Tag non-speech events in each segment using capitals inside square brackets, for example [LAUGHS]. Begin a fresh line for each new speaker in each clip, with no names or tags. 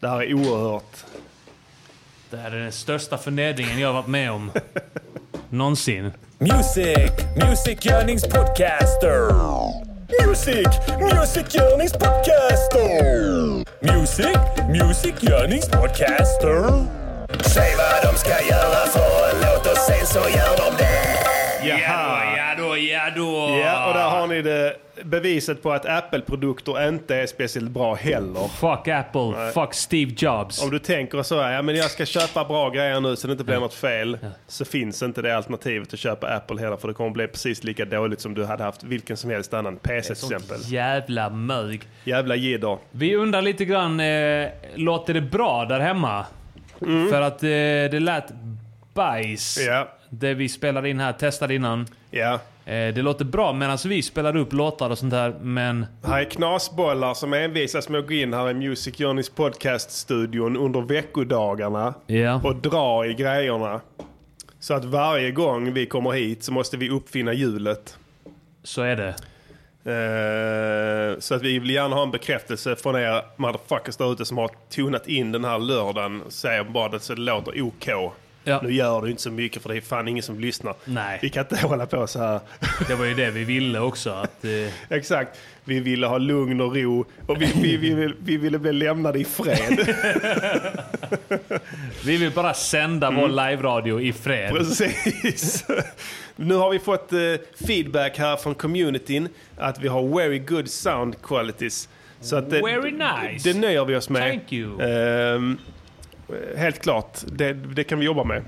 Det här är oerhört.
Det här är den största förnedringen jag har varit med om. Någonsin.
Music, Music Yearnings Podcaster. Music, Music Yearnings Podcaster. Music, Music Yearnings Podcaster. Säg vad de ska göra för en låt och sen så gör de det.
Jaha.
ja då, ja då.
Ja, och där har ni det beviset på att Apple-produkter inte är speciellt bra heller.
Fuck Apple, fuck Steve Jobs.
Om du tänker så här, ja men jag ska köpa bra grejer nu så det inte blir något fel. Så finns inte det alternativet att köpa Apple heller för det kommer bli precis lika dåligt som du hade haft vilken som helst annan PC till exempel.
Sånt jävla mög.
Jävla jidder.
Vi undrar lite grann, eh, låter det bra där hemma? För att eh, det lät bajs.
Mm. Ja,
Det vi spelade in här, testade innan.
ja.
Eh, det låter bra medan vi spelade upp låtar och sånt där, men...
Här är knasbollar som envisas med att gå in här i Music Journeys podcast-studion under veckodagarna
Ja.
och dra i grejerna. Så att varje gång vi kommer hit så måste vi uppfinna hjulet.
Så är det.
Eh, så att vi vill gärna ha en bekräftelse från er motherfuckers där ute som har tonat in den här lördagen och säger bara att det låter OK.
Ja.
Nu gör du inte så mycket för det är fan ingen som lyssnar.
Nej.
Vi kan inte [LAUGHS] hålla på så här.
Det var ju det vi ville också. Att, eh,
Exakt. Vi ville ha lugn och ro och vi, vi, vi, vi, vi ville bli lämnade i fred.
vi vill bara sända vår
Mm.
live-radio i fred.
Precis. nu har vi fått eh, feedback här från communityn att vi har very good sound qualities. Så att det,
Very nice.
det nöjer vi oss med.
Thank you.
Ehm, helt klart, det, det kan vi jobba med.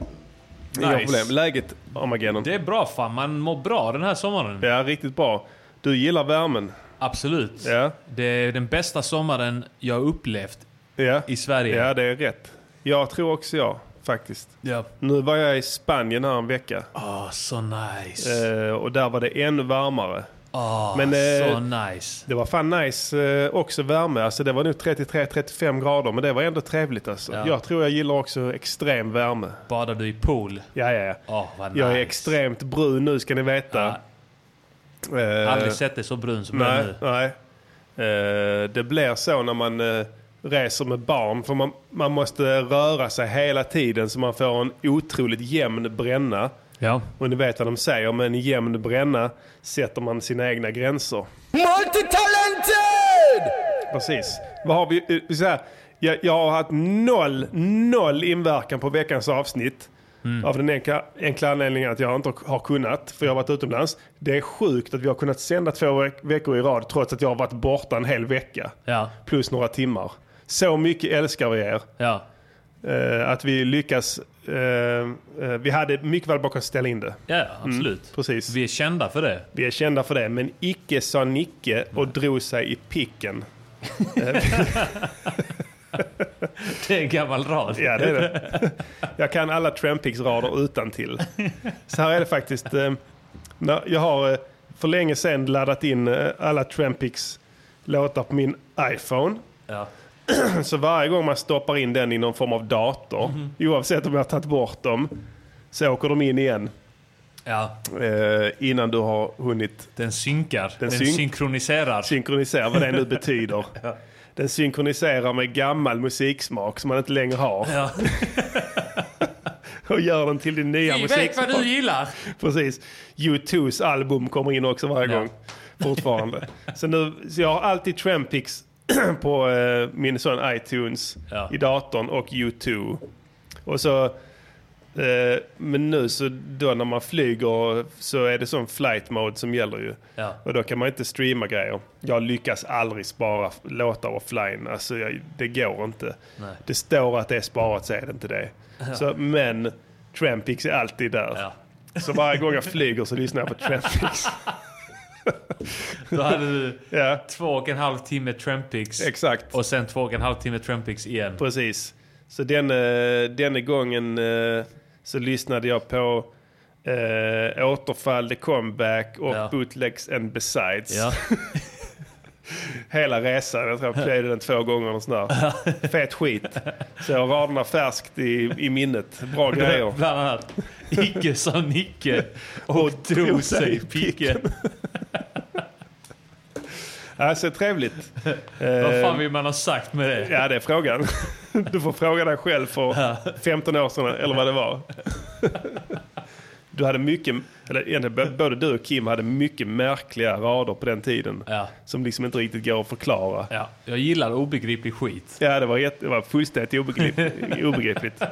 Inga
Nice.
problem. Läget, Armageddon?
Det är bra fan, man mår bra den här sommaren.
Ja, riktigt bra. Du gillar värmen?
Absolut.
Ja.
Det är den bästa sommaren jag upplevt.
ja.
I Sverige.
Ja, det är rätt. Jag tror också jag, faktiskt.
Ja.
Nu var jag i Spanien här en vecka
Ah, så nice.
eh, och där var det ännu varmare.
Ah,
men, eh,
så nice.
Det var fan nice eh, också värme. Alltså det var nog 33-35 grader men det var ändå trevligt alltså.
Ja.
Jag tror jag gillar också extrem värme.
Badar du i pool?
Ja, ja, ja.
Ah, vad nice.
Jag är extremt brun nu ska ni veta. Eh,
Aldrig sett dig så brun som jag
Nej,
nu.
nej. Eh, det blir så när man eh, reser med barn. För man, man måste röra sig hela tiden så man får en otroligt jämn bränna.
Ja.
Och ni vet vad de säger, med en jämn bränna sätter man sina egna gränser.
Multitalented!
Precis. Vad har vi? eh, Så här, jag, jag har haft noll, noll inverkan på veckans avsnitt. Av den enkla, enkla anledningen att jag inte har kunnat, för jag har varit utomlands. Det är sjukt att vi har kunnat sända två veck- veckor i rad trots att jag har varit borta en hel vecka.
Ja.
Plus några timmar. Så mycket älskar vi er.
Ja.
Eh, att vi lyckas. Eh, eh, vi hade mycket väl bara kunnat ställa in det.
Ja, absolut.
Mm, Precis.
Vi är kända för det.
Vi är kända för det, men icke sa Nicke och drog sig i picken.
Det är en gammal rad.
Ja, det är det. Jag kan alla Trampix-rader utan till. Så här är det faktiskt. eh, när- Jag har eh, för länge sedan laddat in eh, alla Trampix-låtar på min iPhone.
Ja.
Så varje gång man stoppar in den i någon form av dator, oavsett om jag har tagit bort dem, så åker de in igen
ja.
eh, innan du har hunnit
Den synkar. Den,
synk-
synkroniserar.
synkronisera, vad det nu betyder. Den synkroniserar med gammal musiksmak som man inte längre har
ja.
och gör den till din nya
Vi vet
musiksmak.
vad du gillar.
[LAUGHS] Precis. U2s album kommer in också varje
Ja.
gång.
[LAUGHS]
Fortfarande. så, nu, så jag har alltid Trampix [CLEARS THROAT] på eh, min sån iTunes
Ja.
i datorn och U2. Och så, eh, men nu så då när man flyger så är det sån flight mode som gäller ju.
Ja.
Och då kan man inte streama grejer. Jag lyckas aldrig spara f- låtar offline. Alltså jag, det går inte.
Nej.
Det står att det är sparat så är det inte det. Så, men Trampix är alltid där.
Ja.
Så varje gång jag flyger så lyssnar jag på Trampix.
[LAUGHS] Då hade du
Ja,
två och en halv timme Trampix.
exakt.
Och sen två och en halv timme Trampix igen.
Precis. Så den, eh, denna gången eh, så lyssnade jag på eh, Återfall, The Comeback och
Ja.
Bootlegs and Besides.
Ja.
Hela resan. Jag tror jag playade den två gånger eller sånt där. Fet skit. Så jag har raderna färskt i, i minnet.
[LAUGHS]
Bra grejer.
Bland annat. Icke sa Nicke och drog sig i piken.
Alltså trevligt.
Vad fan vill man ha sagt med det?
Eh. Ja, det är frågan. Du får fråga dig själv för 15 år sedan, eller vad det var. Du hade mycket, eller egentligen b- både du och Kim hade mycket märkliga rader på den tiden.
Ja.
Som liksom inte riktigt går att förklara.
Ja, jag gillar obegriplig skit.
Ja, det var, jätte, det var fullständigt obegripligt. obegripligt.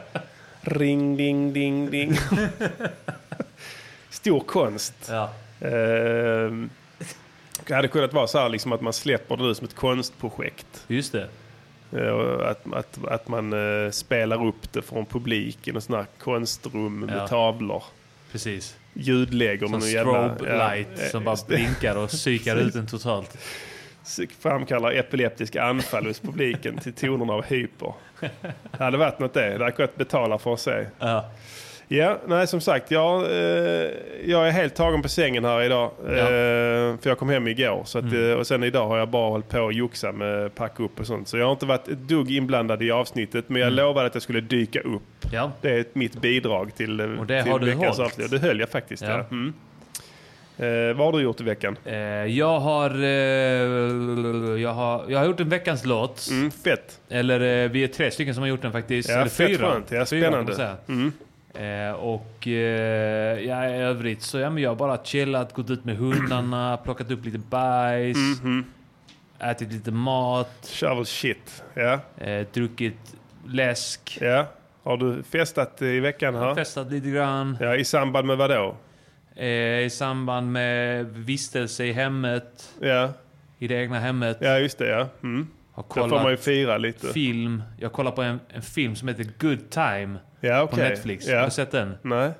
Ring, ding, ding, ding. Stor konst.
Ja.
Ehm, Det hade kunnat vara så här liksom att man släpper det ut som ett konstprojekt.
Just det.
Eh, och Att, att, att man eh, spelar upp det från publiken och sådana här konstrum med
Ja.
tavlor.
Precis.
Ljudlägger
Som
med någon jävla...
strobe
ja,
light
eh,
som bara
s-
blinkar och psykar ut en totalt.
s- Framkallar epileptiska anfall hos publiken till tonerna av
[LAUGHS]
hyper. Det hade varit något det. Det hade jag kunnat betala för att se.
Ja.
Ja, nej som sagt. Jag, eh, jag är helt tagen på sängen här idag. Eh, för jag kom hem igår. Så att,
Mm.
eh, Och sen idag har jag bara hållit på och joxat med packa upp och sånt. Så jag har inte varit ett dugg inblandad i avsnittet. Men jag
Mm.
lovade att jag skulle dyka upp.
ja.
Det är ett- mitt bidrag till, eh,
Och det
till
har du
veckans
hållit.
avsnitt. Och Det höll jag faktiskt. Ja.
Ja.
Mm. Eh, vad har du gjort i veckan?
Eh, jag har, eh, jag har... Jag har gjort en veckans låt.
Mm, fett.
Eller eh, vi är tre stycken som har gjort den faktiskt.
Ja,
Eller
fett
fyra.
skönt. Ja,
Fyra, kan man
spännande.
säga.
Mm.
Eh, och eh, ja, i övrigt så ja, men jag har bara chillat, gått ut med hundarna, [CLEARS THROAT] plockat upp lite bajs,
Mhm.
ätit lite mat,
Shovel shit. Ja.
eh, druckit läsk,
ja. Har du festat i veckan här?
festat lite grann.
Ja, I samband med vad då?
Eh, I samband med vistelse i hemmet,
Ja,
i det egna hemmet.
ja just det. Ja. Mm.
Har
Då får man ju
kollat
fira lite.
film. Jag kollar på en, en film som heter Good Time
Ja,
på
okej.
Netflix. Har
Ja.
du sett den?
Nej.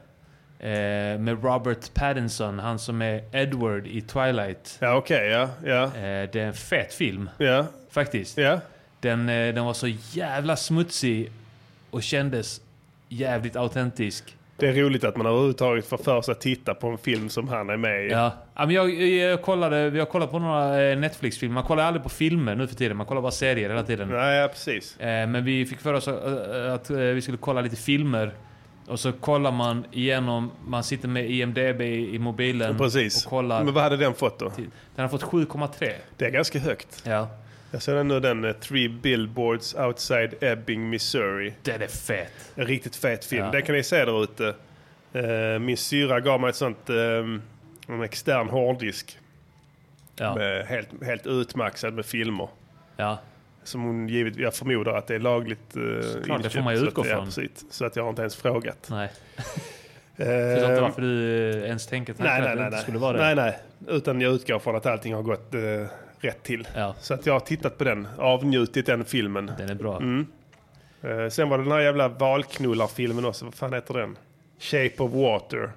Eh, med Robert Pattinson, han som är Edward i Twilight.
Ja, okej. ja, ja,
Eh, det är en fet film
ja,
faktiskt.
ja.
Den, eh, den var så jävla smutsig och kändes jävligt autentisk.
Det är roligt att man överhuvudtaget får för sig att titta på en film som han är med i.
Ja. Ja, men jag, jag, kollade, vi har kollat på några eh, Netflix-filmer. Man kollar aldrig på filmer nu för tiden, man kollar bara serier hela tiden.
Nej, ja, precis.
Eh, Men vi fick för oss att, eh, att eh, vi skulle kolla lite filmer. Och så kollar man igenom, man sitter med IMDB i mobilen
precis.
Mm. och kollar.
Men vad hade den fått då?
Den har fått 7,3.
Det är ganska högt.
Ja.
Jag ser den nu, den eh, Three Billboards Outside Ebbing, Missouri.
Den är fet.
En riktigt fet film.
Ja.
Den kan ni se där ute. Eh, Min syra gav mig ett sånt, eh, en extern hårddisk.
Ja.
med Helt, helt utmaxad med filmer.
ja.
Som hon givit, jag förmodar att det är lagligt eh,
det får man ju
så att-
utgå
ja,
från.
precis. Så att jag har inte ens frågat.
Nej. Jag förstår inte
Eh,
varför du eh, ens tänker tanken
nej,
att
nej,
det
nej,
inte
nej.
skulle vara
nej,
det.
nej. Utan jag utgår från att allting har gått eh, rätt till.
Ja.
Så att jag har tittat på den, avnjutit den filmen.
Den är bra.
Mm. Eh, sen var det den här jävla valknullarfilmen också. Vad fan heter den? Shape of Water.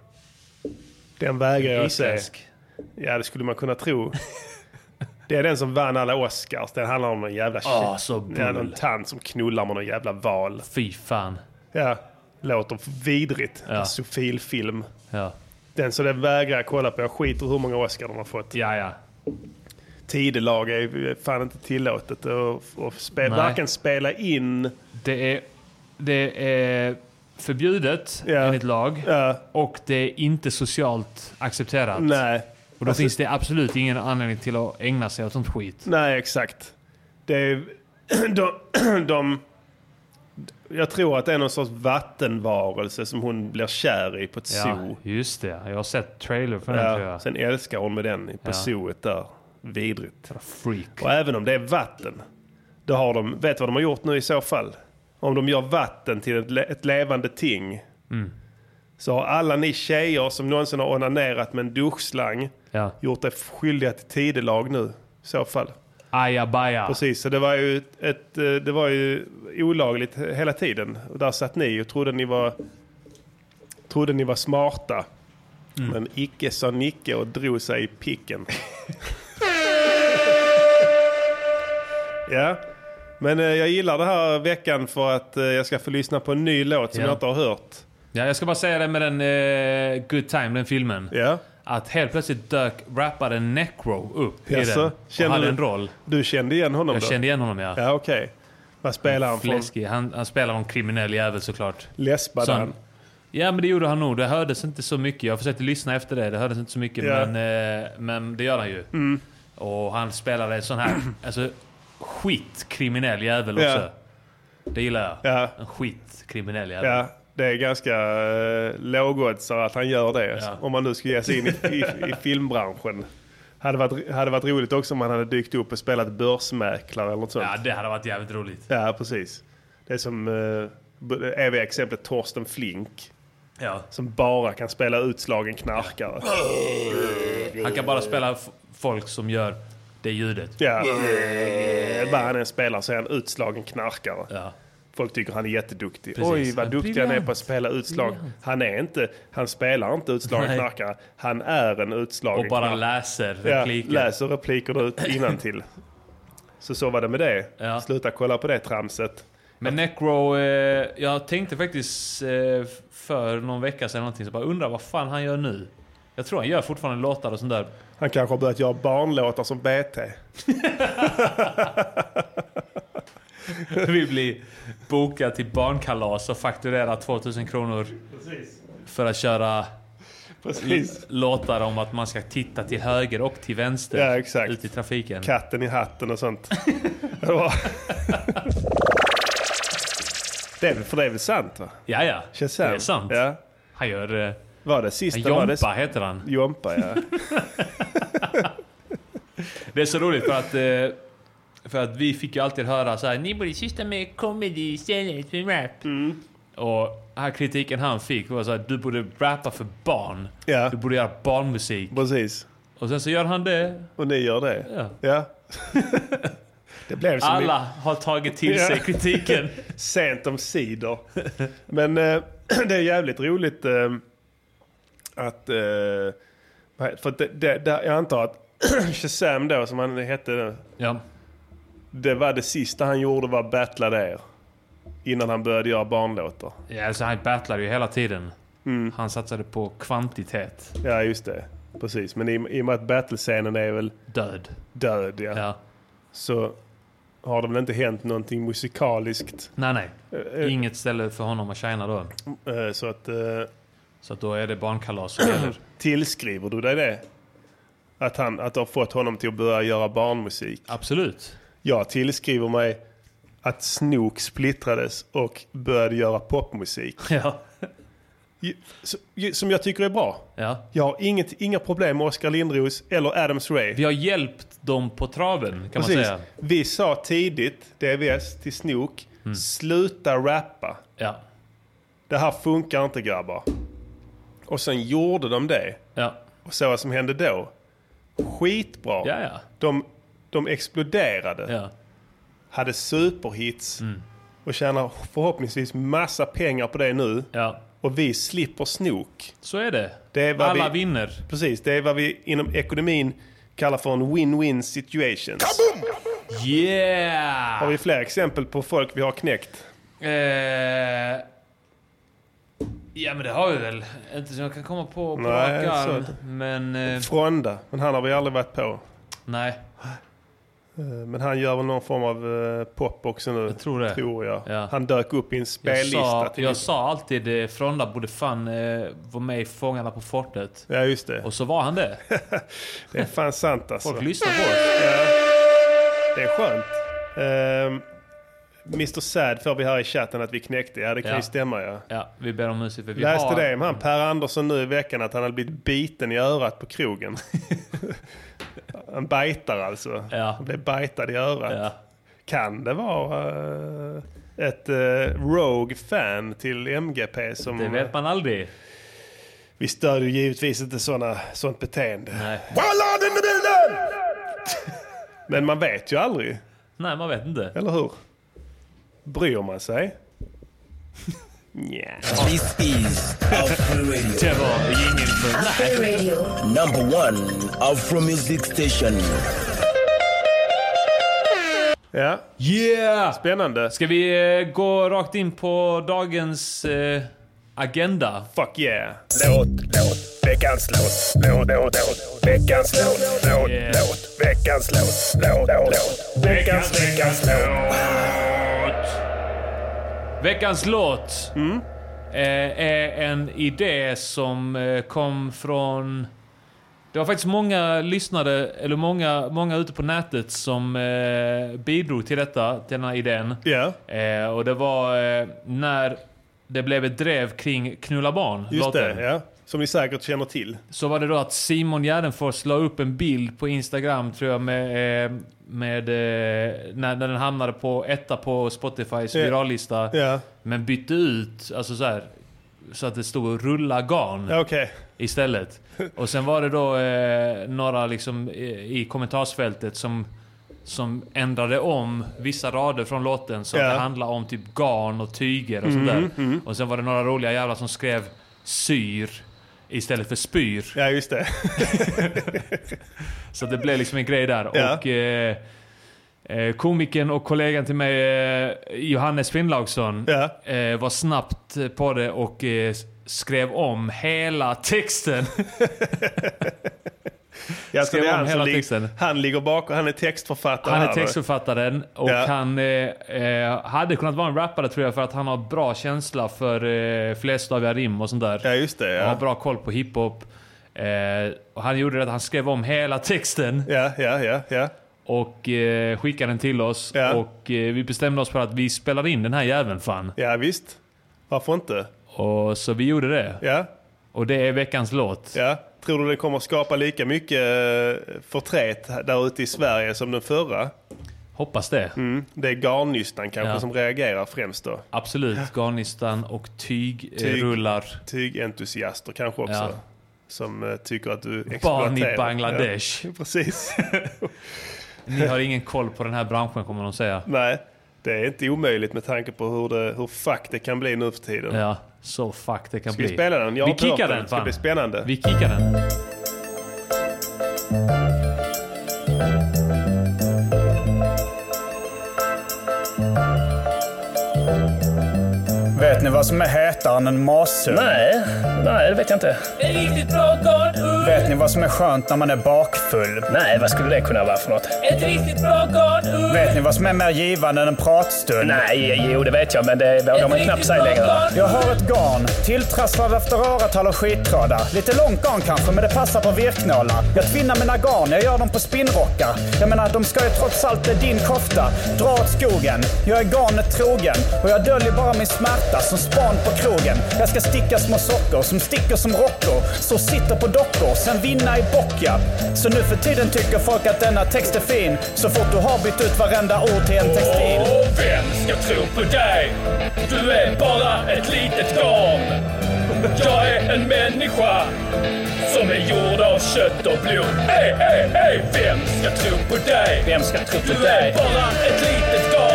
Den vägrar jag se.
Isländsk.
Ja, det skulle man kunna
[LAUGHS]
tro. det är den som vann alla Oscars. Den handlar om en jävla
Ah,
shit.
så
Ja, någon
bull.
tant som knullar med någon jävla val.
Fy fan.
Ja, låter vidrigt.
Ja.
Ja. Sofilfilm.
Ja.
Den så den vägrar jag kolla på. Jag skiter i hur många Oscar de har fått.
Ja, ja.
Tidelag är fan inte tillåtet. Och, och spe,
Nej.
varken spela in...
Det är, det är förbjudet
Ja.
enligt lag.
Ja,
Och det är inte socialt accepterat.
nej. Alltså-
Och då finns det absolut ingen anledning till att ägna sig åt sånt skit.
Nej, exakt. Det är... [CLEARS THROAT] De, de, jag tror att det är någon sorts vattenvarelse som hon blir kär i på ett zoo.
just det. Jag har sett trailer för den tror
Ja,
jag.
sen älskar hon med den på
Ja.
zooet där. Vidrigt.
Freak.
Och även om det är vatten, då har de, vet vad de har gjort nu i så fall? Om de gör vatten till ett, le, ett levande ting,
Mm.
så har alla ni tjejer som någonsin har onanerat med en duschslang
Ja.
gjort er skyldiga till tidelag nu i så fall.
Ajabaja.
Precis, så det var ju, ett, ett, eh, det var ju olagligt he- hela tiden. Och där satt ni och trodde ni var, trodde ni var smarta.
Mm.
Men icke sa Nicke och drog sig i
[LAUGHS]
picken. ja, men eh, jag gillar den här veckan för att eh, jag ska få lyssna på en ny låt som
Ja.
jag inte har hört.
Ja, jag ska bara säga det med den eh, Good Time, den filmen.
Ja.
Att helt plötsligt dök rapparen Necro upp i
Jaså?
den. Och
Känner
hade
du-
en roll.
Du kände igen honom
Jag
då?
kände igen honom ja.
Ja, okej. Vad spelar han för?
Fläskig. Han, han spelar någon kriminell jävel såklart.
Läspade
Sån-
han?
Ja men det gjorde han nog. Det hördes inte så mycket. Jag försökte lyssna efter det. Det hördes inte så mycket.
Ja. Mm.
Men, eh, men det gör han ju. Och han spelade en sån här, [CLEARS THROAT] alltså skitkriminell jävel också.
Ja.
Det gillar jag.
Ja.
En skitkriminell jävel.
Ja, det är ganska eh, lågoddsare att han gör det.
Ja.
Om man nu skulle ge sig in i, i, i filmbranschen. Hade varit, hade varit roligt också om han hade dykt upp och spelat börsmäklare eller något sånt.
Ja, det hade varit jävligt roligt.
Ja, precis. Det är som eh, b- eviga exemplet Torsten Flink
Ja.
som bara kan spela utslagen knarkare.
Han kan bara spela f- folk som gör det ljudet.
Ja. Vad han än spelar så är han utslagen knarkare.
Ja.
Folk tycker han är jätteduktig.
Precis.
Oj, vad
Ja,
duktig han är på att spela utslag. Han är inte, han spelar inte utslagen
Nej.
knarkare. Han är en utslagen
Och bara
knarkare.
läser
Ja,
repliker.
läser repliker ut
[LAUGHS]
innantill. Så så var det med det.
Ja.
Sluta kolla på det tramset.
Men Necro, eh, jag tänkte faktiskt eh, för någon vecka sedan någonting, så bara undrar vad fan han gör nu. Jag tror han gör fortfarande låtar och sånt där. [LAUGHS]
Han kanske har börjat göra barnlåtar som BT.
Vi blir bokade till barnkalas och fakturerar 2000 kronor för att köra
Precis.
låtar om att man ska titta till höger och till vänster
Ja, exakt.
ute i trafiken.
Katten i hatten och sånt. det, var... det, är, väl- för det är väl sant va?
Ja, ja. Det
Shazam.
är sant.
Ja.
Han gör... Eh,
Var det sista? Var det...
Jompa heter han.
Jompa,
[LAUGHS]
ja.
Det är så roligt för att, eh, för att vi fick ju alltid höra så här, ni borde syssla med comedy istället för rap. Och här kritiken han fick var så här, du borde rappa för barn.
Ja.
Du borde göra barnmusik.
Precis.
Och sen så gör han det.
Och ni gör det?
Ja. [LAUGHS]
det blev som
Alla har tagit till
Ja.
sig kritiken.
sent om sidor. Men eh, [CLEARS THROAT] det är jävligt roligt eh, att... Eh, vad heter- för att det, det, det, jag antar att [CLEARS THROAT] Shazam då, som han hette, nu,
[LAUGHS] Ja.
det var det sista han gjorde var att battla er. Innan han började göra barnlåtar.
ja, alltså han battlade ju hela tiden. Han satsade på kvantitet.
Ja, just det. Precis. Men i, i och med att battlescenen är väl
Död.
död, ja,
Ja.
så har det väl inte hänt någonting musikaliskt.
Nej, nej. Inget ställe för honom att shina då.
Eh, så att... Eh,
Så att då är det barnkalas [CLEARS THROAT] som gäller.
Tillskriver du dig det? Att, han, att du har fått honom till att börja göra barnmusik?
Absolut.
Jag tillskriver mig att Snook splittrades och började göra popmusik.
Ja.
Ju- s- ju- Som jag tycker är bra.
ja.
Jag har inget, inga problem med Oskar Lindros eller Adams Ray.
Vi har hjälpt dem på traven kan man
Precis.
säga.
Vi sa tidigt, DVS, till Snook,
Mm.
sluta rappa.
Ja.
Det här funkar inte grabbar. Och sen gjorde de det.
Ja.
Och så vad som hände då. Skitbra.
Ja, ja.
De, de exploderade,
ja. Mm.
hade superhits och tjänar förhoppningsvis massa pengar på det nu.
ja.
Och vi slipper snok.
Så är det.
Det är vad
Alla
vi-
vinner.
Precis, det är vad vi inom ekonomin kallar för en win-win situation. Har
Yeah!
vi fler exempel på folk vi har knäckt?
Eh... Ja men det har vi väl. Inte som jag kan komma på på
Nej,
rak arm.
så-
Men eh,
Fronda, men han har vi aldrig varit på.
nej,
Eh, Men han gör väl någon form av eh, pop också nu. Jag
tror det.
Tror jag.
Ja.
Han dök upp i en
jag
spellista.
sa,
till-
jag sa alltid eh, Fronda borde fan eh, vara med i Fångarna på fortet.
Ja, just det.
Och så var
[LAUGHS]
han det.
Det är fan sant alltså.
Folk lyssnar på oss.
Det är skönt. Ehm, Mr Sad får vi här i chatten att vi knäckte. Ja, det kan
Ja.
ju stämma ja.
Ja, vi ber om ursäkt för vi
Läste
har...
det om han Per Andersson nu i veckan att han hade blivit biten i örat på
[LAUGHS]
krogen. en bajtar alltså.
Ja.
Han blev bajtad i örat.
Ja.
Kan det vara eh, ett eh, rogue fan till MGP som...
Det vet man aldrig.
Vi stödjer givetvis inte såna, sånt beteende.
Nej.
Wallad in the building! [LAUGHS] Men man vet ju aldrig.
Nej, man vet inte.
Eller hur? Bryr man sig? Nja.
This is Afro Radio,
Alltså, Det var ingen för... Nej.
number one Afro Music Station.
Ja,
Yeah!
spännande.
Ska vi eh, gå rakt in på dagens eh, agenda?
Fuck yeah.
Låt, låt, veckans låt, låt, låt, låt, veckans låt, låt,
Yeah.
låt, veckans låt, låt, låt, låt, veckans, veckans låt.
Veckans låt
Mm.
eh, är en idé som eh, kom från Det var faktiskt många lyssnare, eller många, många ute på nätet som eh, bidrog till detta, till den här idén.
Ja.
Eh, och det var eh, när det blev ett drev kring Knulla barn,
Just
låten.
det, ja. Som ni säkert känner till.
Så var det då att Simon Gärdenfors la upp en bild på Instagram tror jag med, eh, med eh, när, när den hamnade på etta på Spotifys
Ja.
virallista.
Ja,
Men bytte ut, alltså så här, så att det stod rulla garn
ja okej.
istället. Och sen var det då eh, några liksom eh, i kommentarsfältet som, som ändrade om vissa rader från låten så
Ja. Mm-hmm,
att det handlar om typ garn och tyger och sånt där. Och sen var det några roliga jävlar som skrev syr istället för spyr.
Ja, just det. [LAUGHS]
Så det blev liksom en grej där.
Ja.
Och eh, eh, komikern och kollegan till mig, eh, Johannes Finnlaugsson,
Ja.
eh, var snabbt på det och eh, s- skrev om
[LAUGHS]
hela texten.
Ja, så
Skrev
det är
om
han, som
hela
lig-
texten.
han ligger bakom, han är textförfattare.
Han
här,
är
va?
textförfattaren och
Ja.
han eh, eh, hade kunnat vara en rappare tror jag för att han har bra känsla för eh, flerstaviga rim och sånt där.
Ja, just det.
Och har
Ja,
bra koll på hiphop. Eh, och han gjorde det att han skrev om hela texten.
ja, ja. ja, ja.
och eh, skickade den till oss.
Ja.
Och eh, vi bestämde oss för att vi spelar in den här jäveln fan.
ja visst. Varför inte?
Och så vi gjorde det.
Ja,
Och det är veckans låt.
ja. Tror du den kommer skapa lika mycket eh, förtret där ute i Sverige som den förra?
Hoppas det.
Mm. Det är garnnystan kanske
Ja.
som reagerar främst då.
Absolut. Garnistan och tyg,
Tyg.
Eh, rullar.
Tygentusiaster kanske också.
Ja.
Som eh, tycker att du exploaterar.
Barn i Bangladesh.
Ja, precis. [LAUGHS]
Ni har ingen koll på den här branschen kommer de säga.
Nej, det är inte omöjligt med tanke på hur, det, hur fuck det kan bli nu för tiden.
Ja, så fuck det kan
Ska
bli.
vi spela den? Jag har
vi
inte hört
kickar
den.
den
Det ska
fan.
bli spännande.
Vi kickar den.
Vet ni vad som är hetare än en mase?
Nej, nej det vet jag inte.
Riktigt bra garn,
Vet ni vad som är skönt när man är bakfull?
Nej, vad skulle det kunna vara för något?
ett riktigt bra garn,
Vet ni vad som är mer givande än en pratstund?
Nej, jo det vet jag, men det vågar man knappt säga längre.
Jag har ett garn, tilltrasslat efter öratal och skittrådar. Lite långt garn kanske, men det passar på virknålar. Jag tvinnar mina garn, jag gör dem på spinnrockar. Jag menar, de ska ju trots allt, det är din kofta. Dra åt skogen, jag är garnet trogen. Och jag döljer bara min smärta som span på krogen. Jag ska sticka små sockor som sticker som rockor. Så sitter på dockor, sen vinna i bock ja. Så nu för tiden tycker folk att denna text är fin. Så fort du har bytt ut varenda ord till en textil.
Och vem ska tro på dig? Du är bara ett litet garn. Jag är en människa som är gjord av kött och blod. Ey, ey, ey, vem ska tro på dig? Vem ska tro på du dig? Du är bara ett litet garn.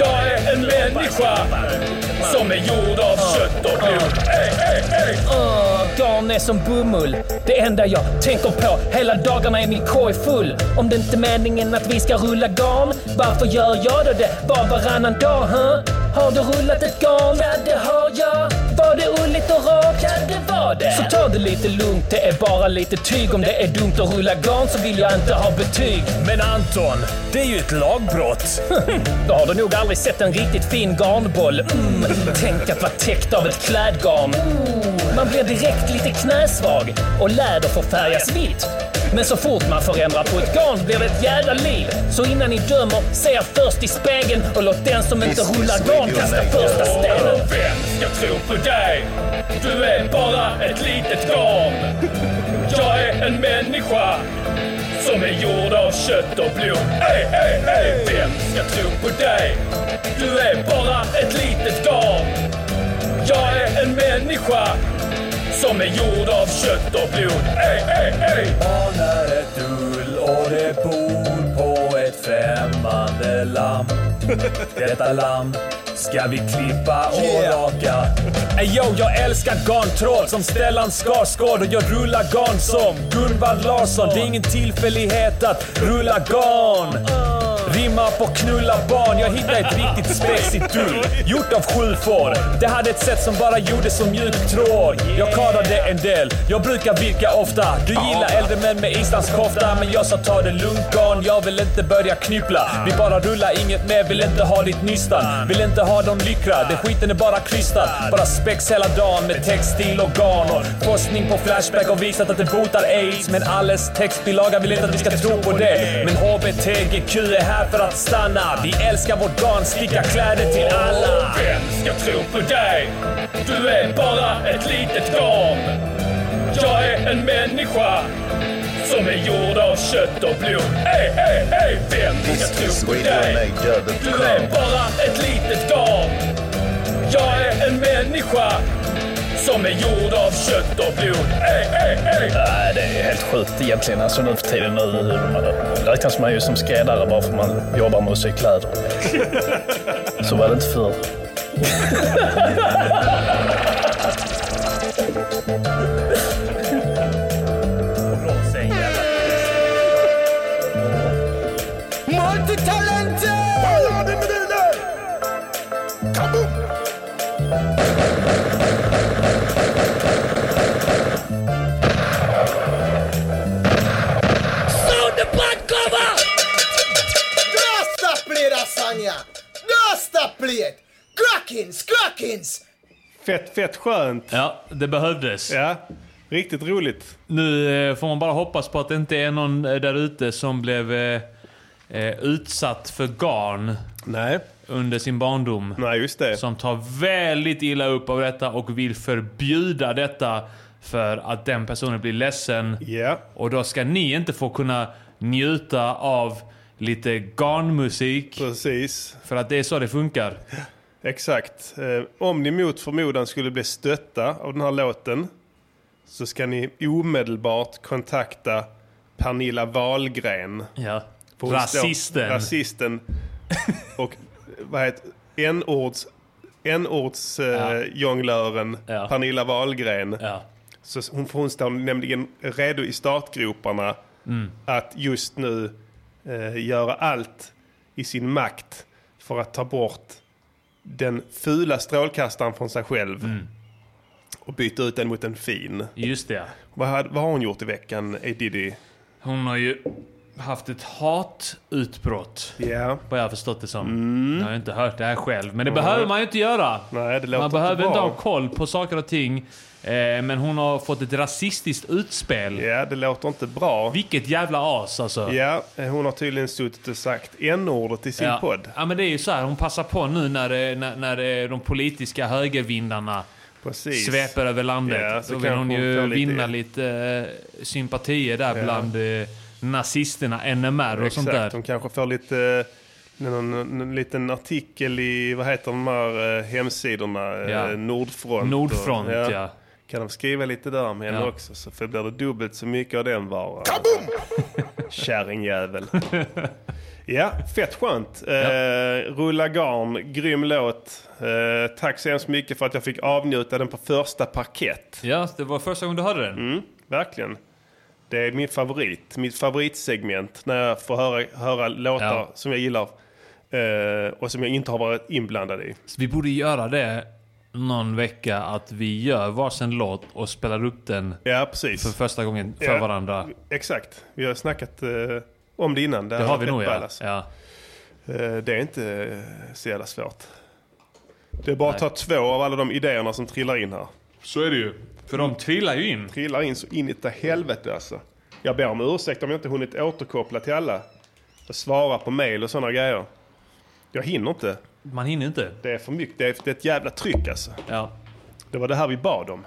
Jag är en människa som är gjord av kött och blod. Ey, ey, ey.
Garn är som bomull, det enda jag tänker på. Hela dagarna är min korg full. Om det inte är meningen att vi ska rulla garn, varför gör jag då det bara varannan dag? Huh? Har du rullat ett garn? Ja, det har jag. Var det ulligt och rakt? Ja, det var det. Så ta det lite lugnt, det är bara lite tyg. Om det är dumt att rulla garn så vill jag inte ha betyg.
Men Anton, det är ju ett lagbrott.
[LAUGHS] Då har du nog aldrig sett en riktigt fin garnboll. Mm, tänk att vara täckt av ett klädgarn. Ooh, Man blir direkt lite knäsvag och läder får färgas vitt. Men så fort man förändrar på ett garn blir det ett jädra liv. Så innan ni dömer, se er först i spegeln och låt den som inte rullar garn kasta första stenen.
Och vem ska tro på dig? Du är bara ett litet garn. Jag är en människa som är gjord av kött och blod. Ey, ey, ey, vem ska tro på dig? Du är bara ett litet garn. Jag är en människa som är gjord av kött och blod. Ey, ey, ey.
anar ett ull och det bor på ett främmande lamm. Detta lamm ska vi klippa och raka.
Ey yo, jag älskar garntroll som Stellan Skarsgård och jag rullar garn som Gunvald Larsson. Det är ingen tillfällighet att rulla garn. Rimmar på knulla barn. Jag hittade ett riktigt spexigt dull. Gjort av sju får. Det hade ett sätt som bara gjorde som mjuk tråd. Jag kadade en del. Jag brukar virka ofta. Du gillar äldre män med islandskofta. Men jag sa ta det lugnt barn. Jag vill inte börja knyppla. Vi bara rullar inget mer. Vill inte ha ditt nystan. Vill inte ha dem lyckra. Det skiten är bara krystad. Bara spex hela dagen med textil och garn. Och forskning på Flashback har visat att det botar aids. Men alles textbilaga vill inte att vi ska tro på det. Men HBTGQ är här för att stanna. Vi älskar vårt garn. Sticka kläder till alla.
Vem ska tro på dig? Du är bara ett litet garn. Jag är en människa som är gjord av kött och blod. Ey, ey, ey, vem ska tro på dig? Du är bara ett litet garn. Jag är en människa som är gjord av kött och blod. Ey, ey, ey.
Nej, det är helt sjukt egentligen. Alltså nu för tiden nu hur man, räknas man ju som skräddare bara för man jobbar med att sy kläder. Så var det inte förr.
Dosta blir lasagna! Dosta blir! Crackins, crackins!
Fett, fett skönt.
Ja, det behövdes.
Ja, riktigt roligt.
Nu eh, får man bara hoppas på att det inte är någon eh, där ute som blev eh, eh, utsatt för garn
Nej,
under sin barndom.
nej just det.
Som tar väldigt illa upp av detta och vill förbjuda detta för att den personen blir ledsen.
Ja,
Och då ska ni inte få kunna njuta av lite garnmusik.
precis.
För att det är så det funkar.
Exakt. Eh, om ni mot förmodan skulle bli stötta av den här låten så ska ni omedelbart kontakta Pernilla Wahlgren.
Ja.
För hon står-
Rasisten. [LAUGHS]
Rasisten. Och eh, vad heter enords enords eh, jonglören
Ja.
Pernilla Wahlgren.
Ja.
Så hon, för hon står nämligen redo i startgroparna
Mm.
att just nu eh, göra allt i sin makt för att ta bort den fula strålkastaren från sig själv
Mm.
och byta ut den mot en fin.
Just det.
Vad, hade- vad har hon gjort i veckan, A. Diddy?
Hon har ju haft ett hatutbrott.
Ja,
Vad jag har förstått det som. Jag har ju inte hört det här själv. Men det behöver man ju inte göra.
Mm. nej det låter
Man behöver
inte
inte
bra.
ha koll på saker och ting. Eh, men hon har fått ett rasistiskt utspel.
Ja, det låter inte bra.
Vilket jävla as alltså.
Ja, eh, hon har tydligen suttit och sagt n-ordet i sin podd.
ja men det är ju så här, hon passar på nu när, eh, när, när eh, de politiska högervindarna
Precis.
sveper över landet.
Ja, så
Då vill
kanske
hon
hon
ju
får lite-
vinna lite eh, sympatier där bland eh, nazisterna, NMR och sånt där.
Exakt, hon kanske får lite... eh, Någon, någon, någon liten artikel i, vad heter de här eh, hemsidorna? Eh,
Ja.
Nordfront.
Nordfront, ja.
Kan de skriva lite där om henne
Ja.
också så för blir det dubbelt så mycket av den varan. Kaboom! [LAUGHS] Kärringjävel. ja, fett skönt. Eh, Rulla garn, grym låt. Eh, tack så hemskt mycket för att jag fick avnjuta den på första parkett.
Ja, det var första gången du hörde den.
Mm. Verkligen. Det är min favorit. Mitt favoritsegment när jag får höra, höra låtar
Ja.
som jag gillar eh, och som jag inte har varit inblandad i.
Så vi borde göra det någon vecka, att vi gör varsin låt och spelar upp den
Ja, precis.
för första gången för
Ja.
varandra.
Exakt. Vi har snackat eh, om det innan.
Det
här
har
var
vi
fett
nog ja.
ballas.
ja.
Eh, det är inte eh, så jävla svårt. Det är bara att ta två av alla de idéerna som trillar in här.
Så är det ju. För de trillar ju in.
Trillar in så in i det helvete alltså. Jag ber om ursäkt om jag inte hunnit återkoppla till alla. Och svara på mail och sådana grejer. Jag hinner inte.
Man hinner inte.
Det är för mycket. Det är, det är ett jävla tryck alltså.
Ja.
Det var det här vi bad om.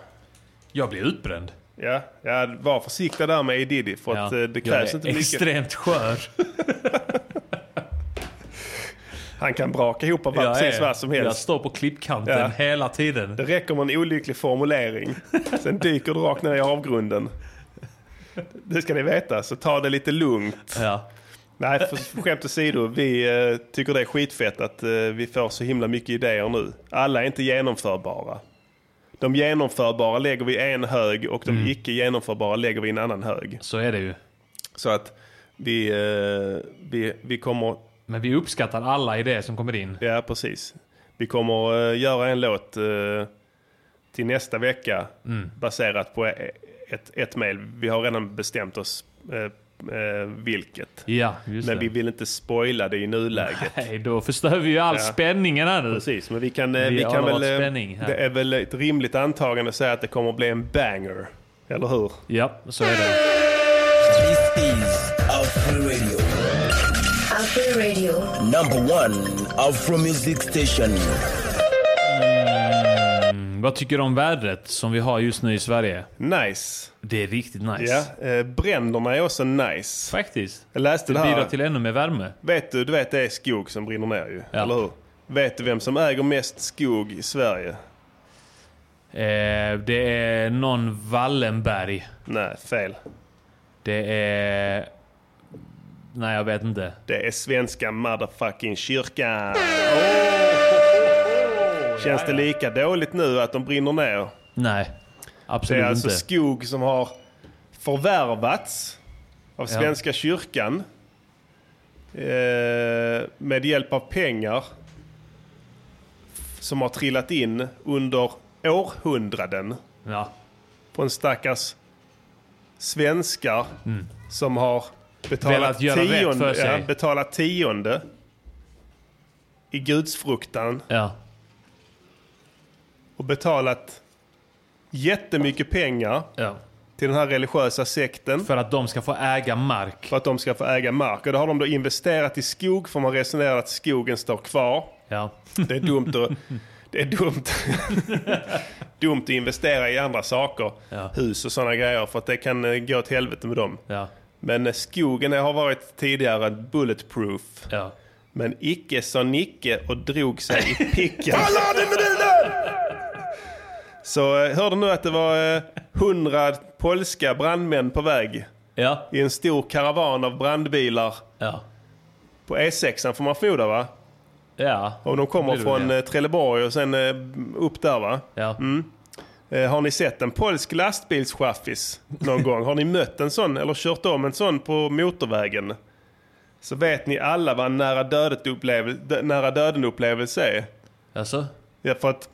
Jag blir utbränd.
Ja, ja var försiktig där med A. Diddy för
Ja.
att eh, det
Jag
krävs
är
inte mycket. [LAUGHS]
Extremt skör.
Han kan braka ihop av
Jag
precis
är-
vad som
Jag
helst.
står på klippkanten
Ja.
hela tiden.
Det räcker med en olycklig
[LAUGHS]
formulering. Sen dyker du rakt ner i avgrunden. Det ska ni veta, så ta det lite lugnt.
Ja.
Nej, för skämt åsido. Vi eh, tycker det är skitfett att eh, vi får så himla mycket idéer nu. Alla är inte genomförbara. De genomförbara lägger vi i en hög och
Mm.
de icke genomförbara lägger vi i en annan hög.
Så är det ju.
Så att vi, eh, vi, vi kommer
Men vi uppskattar alla idéer som kommer in.
Ja, precis. Vi kommer eh, göra en låt eh, till nästa vecka baserat på eh, ett, ett mejl. Vi har redan bestämt oss eh, eh, vilket.
Ja, just
Men
det.
vi vill inte spoila det i nuläget.
Nej, då förstör vi ju all spänningen här
[LAUGHS]
nu.
Precis, men vi kan, eh,
Vi
vi
har
kan väl...
varit
eh,
spänning här.
Det är väl ett rimligt antagande att säga att det kommer att bli en banger. Eller hur?
Ja, så är det.
This is Alpha Radio.
Alpha Radio.
Number one Afro Music Station.
Mm, Vad tycker du om vädret som vi har just nu i Sverige?
Nice.
Det är riktigt nice.
Ja, eh, bränderna är också nice.
Faktiskt.
Jag läste det
Det bidrar
här.
till ännu mer värme.
Vet du, du vet det är skog som brinner ner ju.
Ja.
Eller hur? Vet du vem som äger mest skog i Sverige?
Eh, det är någon Wallenberg.
Nej, fel.
Det är... Nej, jag vet inte.
Det är svenska motherfucking kyrkan. Känns det lika dåligt nu att de brinner ner?
Nej,
Det
absolut
är alltså
inte.
skog som har förvärvats av Svenska kyrkan eh, med hjälp av pengar som har trillat in under århundraden
Ja.
på en stackars svenskar som har betalat
Mm. Velat göra rätt för
tionde,
sig.
ja, betalat tionde i gudsfruktan
ja.
och betalat jättemycket pengar
ja.
till den här religiösa sekten.
För att de ska få äga mark.
för att de ska få äga mark. Och då har de då investerat i skog för man resonerar att skogen står kvar.
Ja.
Det är dumt
[LAUGHS]
att, det är dumt. [LAUGHS] dumt att investera i andra saker.
Ja.
Hus och sådana grejer för att det kan eh, gå åt helvete med dem.
[LAUGHS] Ja.
Men eh, skogen har varit tidigare bulletproof.
Ja.
Men icke sa Nicke och drog sig i
[LAUGHS]
picken. Så eh, hörde nu att det var hundra polska brandmän på väg
Ja.
i en stor karavan av brandbilar
Ja.
på E6 får man förmoda va?
Ja.
Om de kommer
Det blir det
från
väl, ja.
eh, Trelleborg och sen eh, upp där va?
Ja.
Eh, Har ni sett en polsk lastbilschaffis
[LAUGHS]
någon gång? Har ni mött en sån eller kört om en sån på motorvägen? Så vet ni alla vad en nära, dödet upplevel- dö- nära döden-upplevelse är.
Alltså?
Ja, för att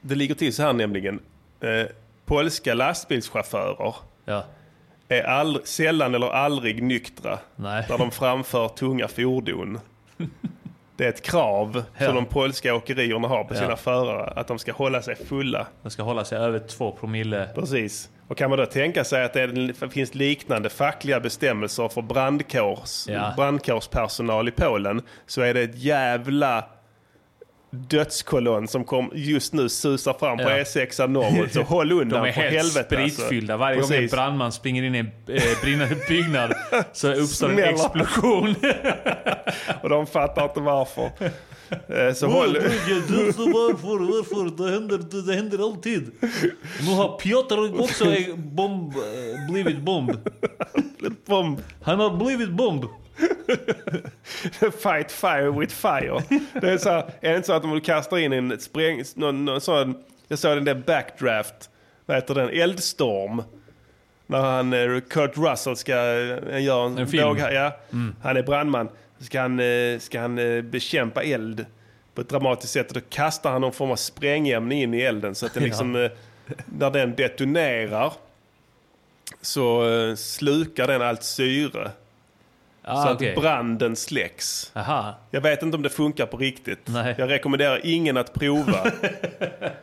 det ligger till så här nämligen. Eh, polska lastbilschaufförer
Ja.
är all, sällan eller aldrig nyktra
Nej.
när de framför tunga fordon. Det är ett krav
Ja.
som de polska åkerierna har på sina
Ja.
förare, att de ska hålla sig fulla.
De ska hålla sig över två promille.
Precis. Och kan man då tänka sig att det är- finns liknande fackliga bestämmelser för brandkårs,
Ja.
brandkårspersonal i Polen så är det ett jävla dödskolonn som kom, just nu susar fram på
Ja.
E6 norrut. Så håll undan
[LAUGHS] De är
för
helt
helvete. alltså.
spritfyllda. Varje gång en
Precis.
brandman springer in i en eh, brinnande [LAUGHS] byggnad [LAUGHS] så uppstår en
Smäller.
[LAUGHS] explosion.
Och de fattar inte
[LAUGHS]
varför. Eh, Så håll...
Mm.
[LAUGHS]
varför, varför? Det händer, det, händer alltid. Nu har Piotr också bomb, eh, blivit bomb.
Bomb.
Han har blivit bomb.
Fight fire with fire. Det är, så här, är det inte så att om du kastar in en spräng... Någon, någon sån, jag såg den där backdraft. Vad heter den? Eldstorm. När han, eh, Kurt Russell ska eh, göra en,
En film. Mm.
låg- ja. Han är brandman. Ska han, eh, ska han eh, bekämpa eld på ett dramatiskt sätt. Och då kastar han någon form av sprängämne in i elden. Så att det liksom, eh, när den detonerar så eh, slukar den allt syre. så
Ah, okej.
att branden släcks.
Aha.
Jag vet inte om det funkar på riktigt.
Nej.
Jag rekommenderar ingen att
[LAUGHS]
prova.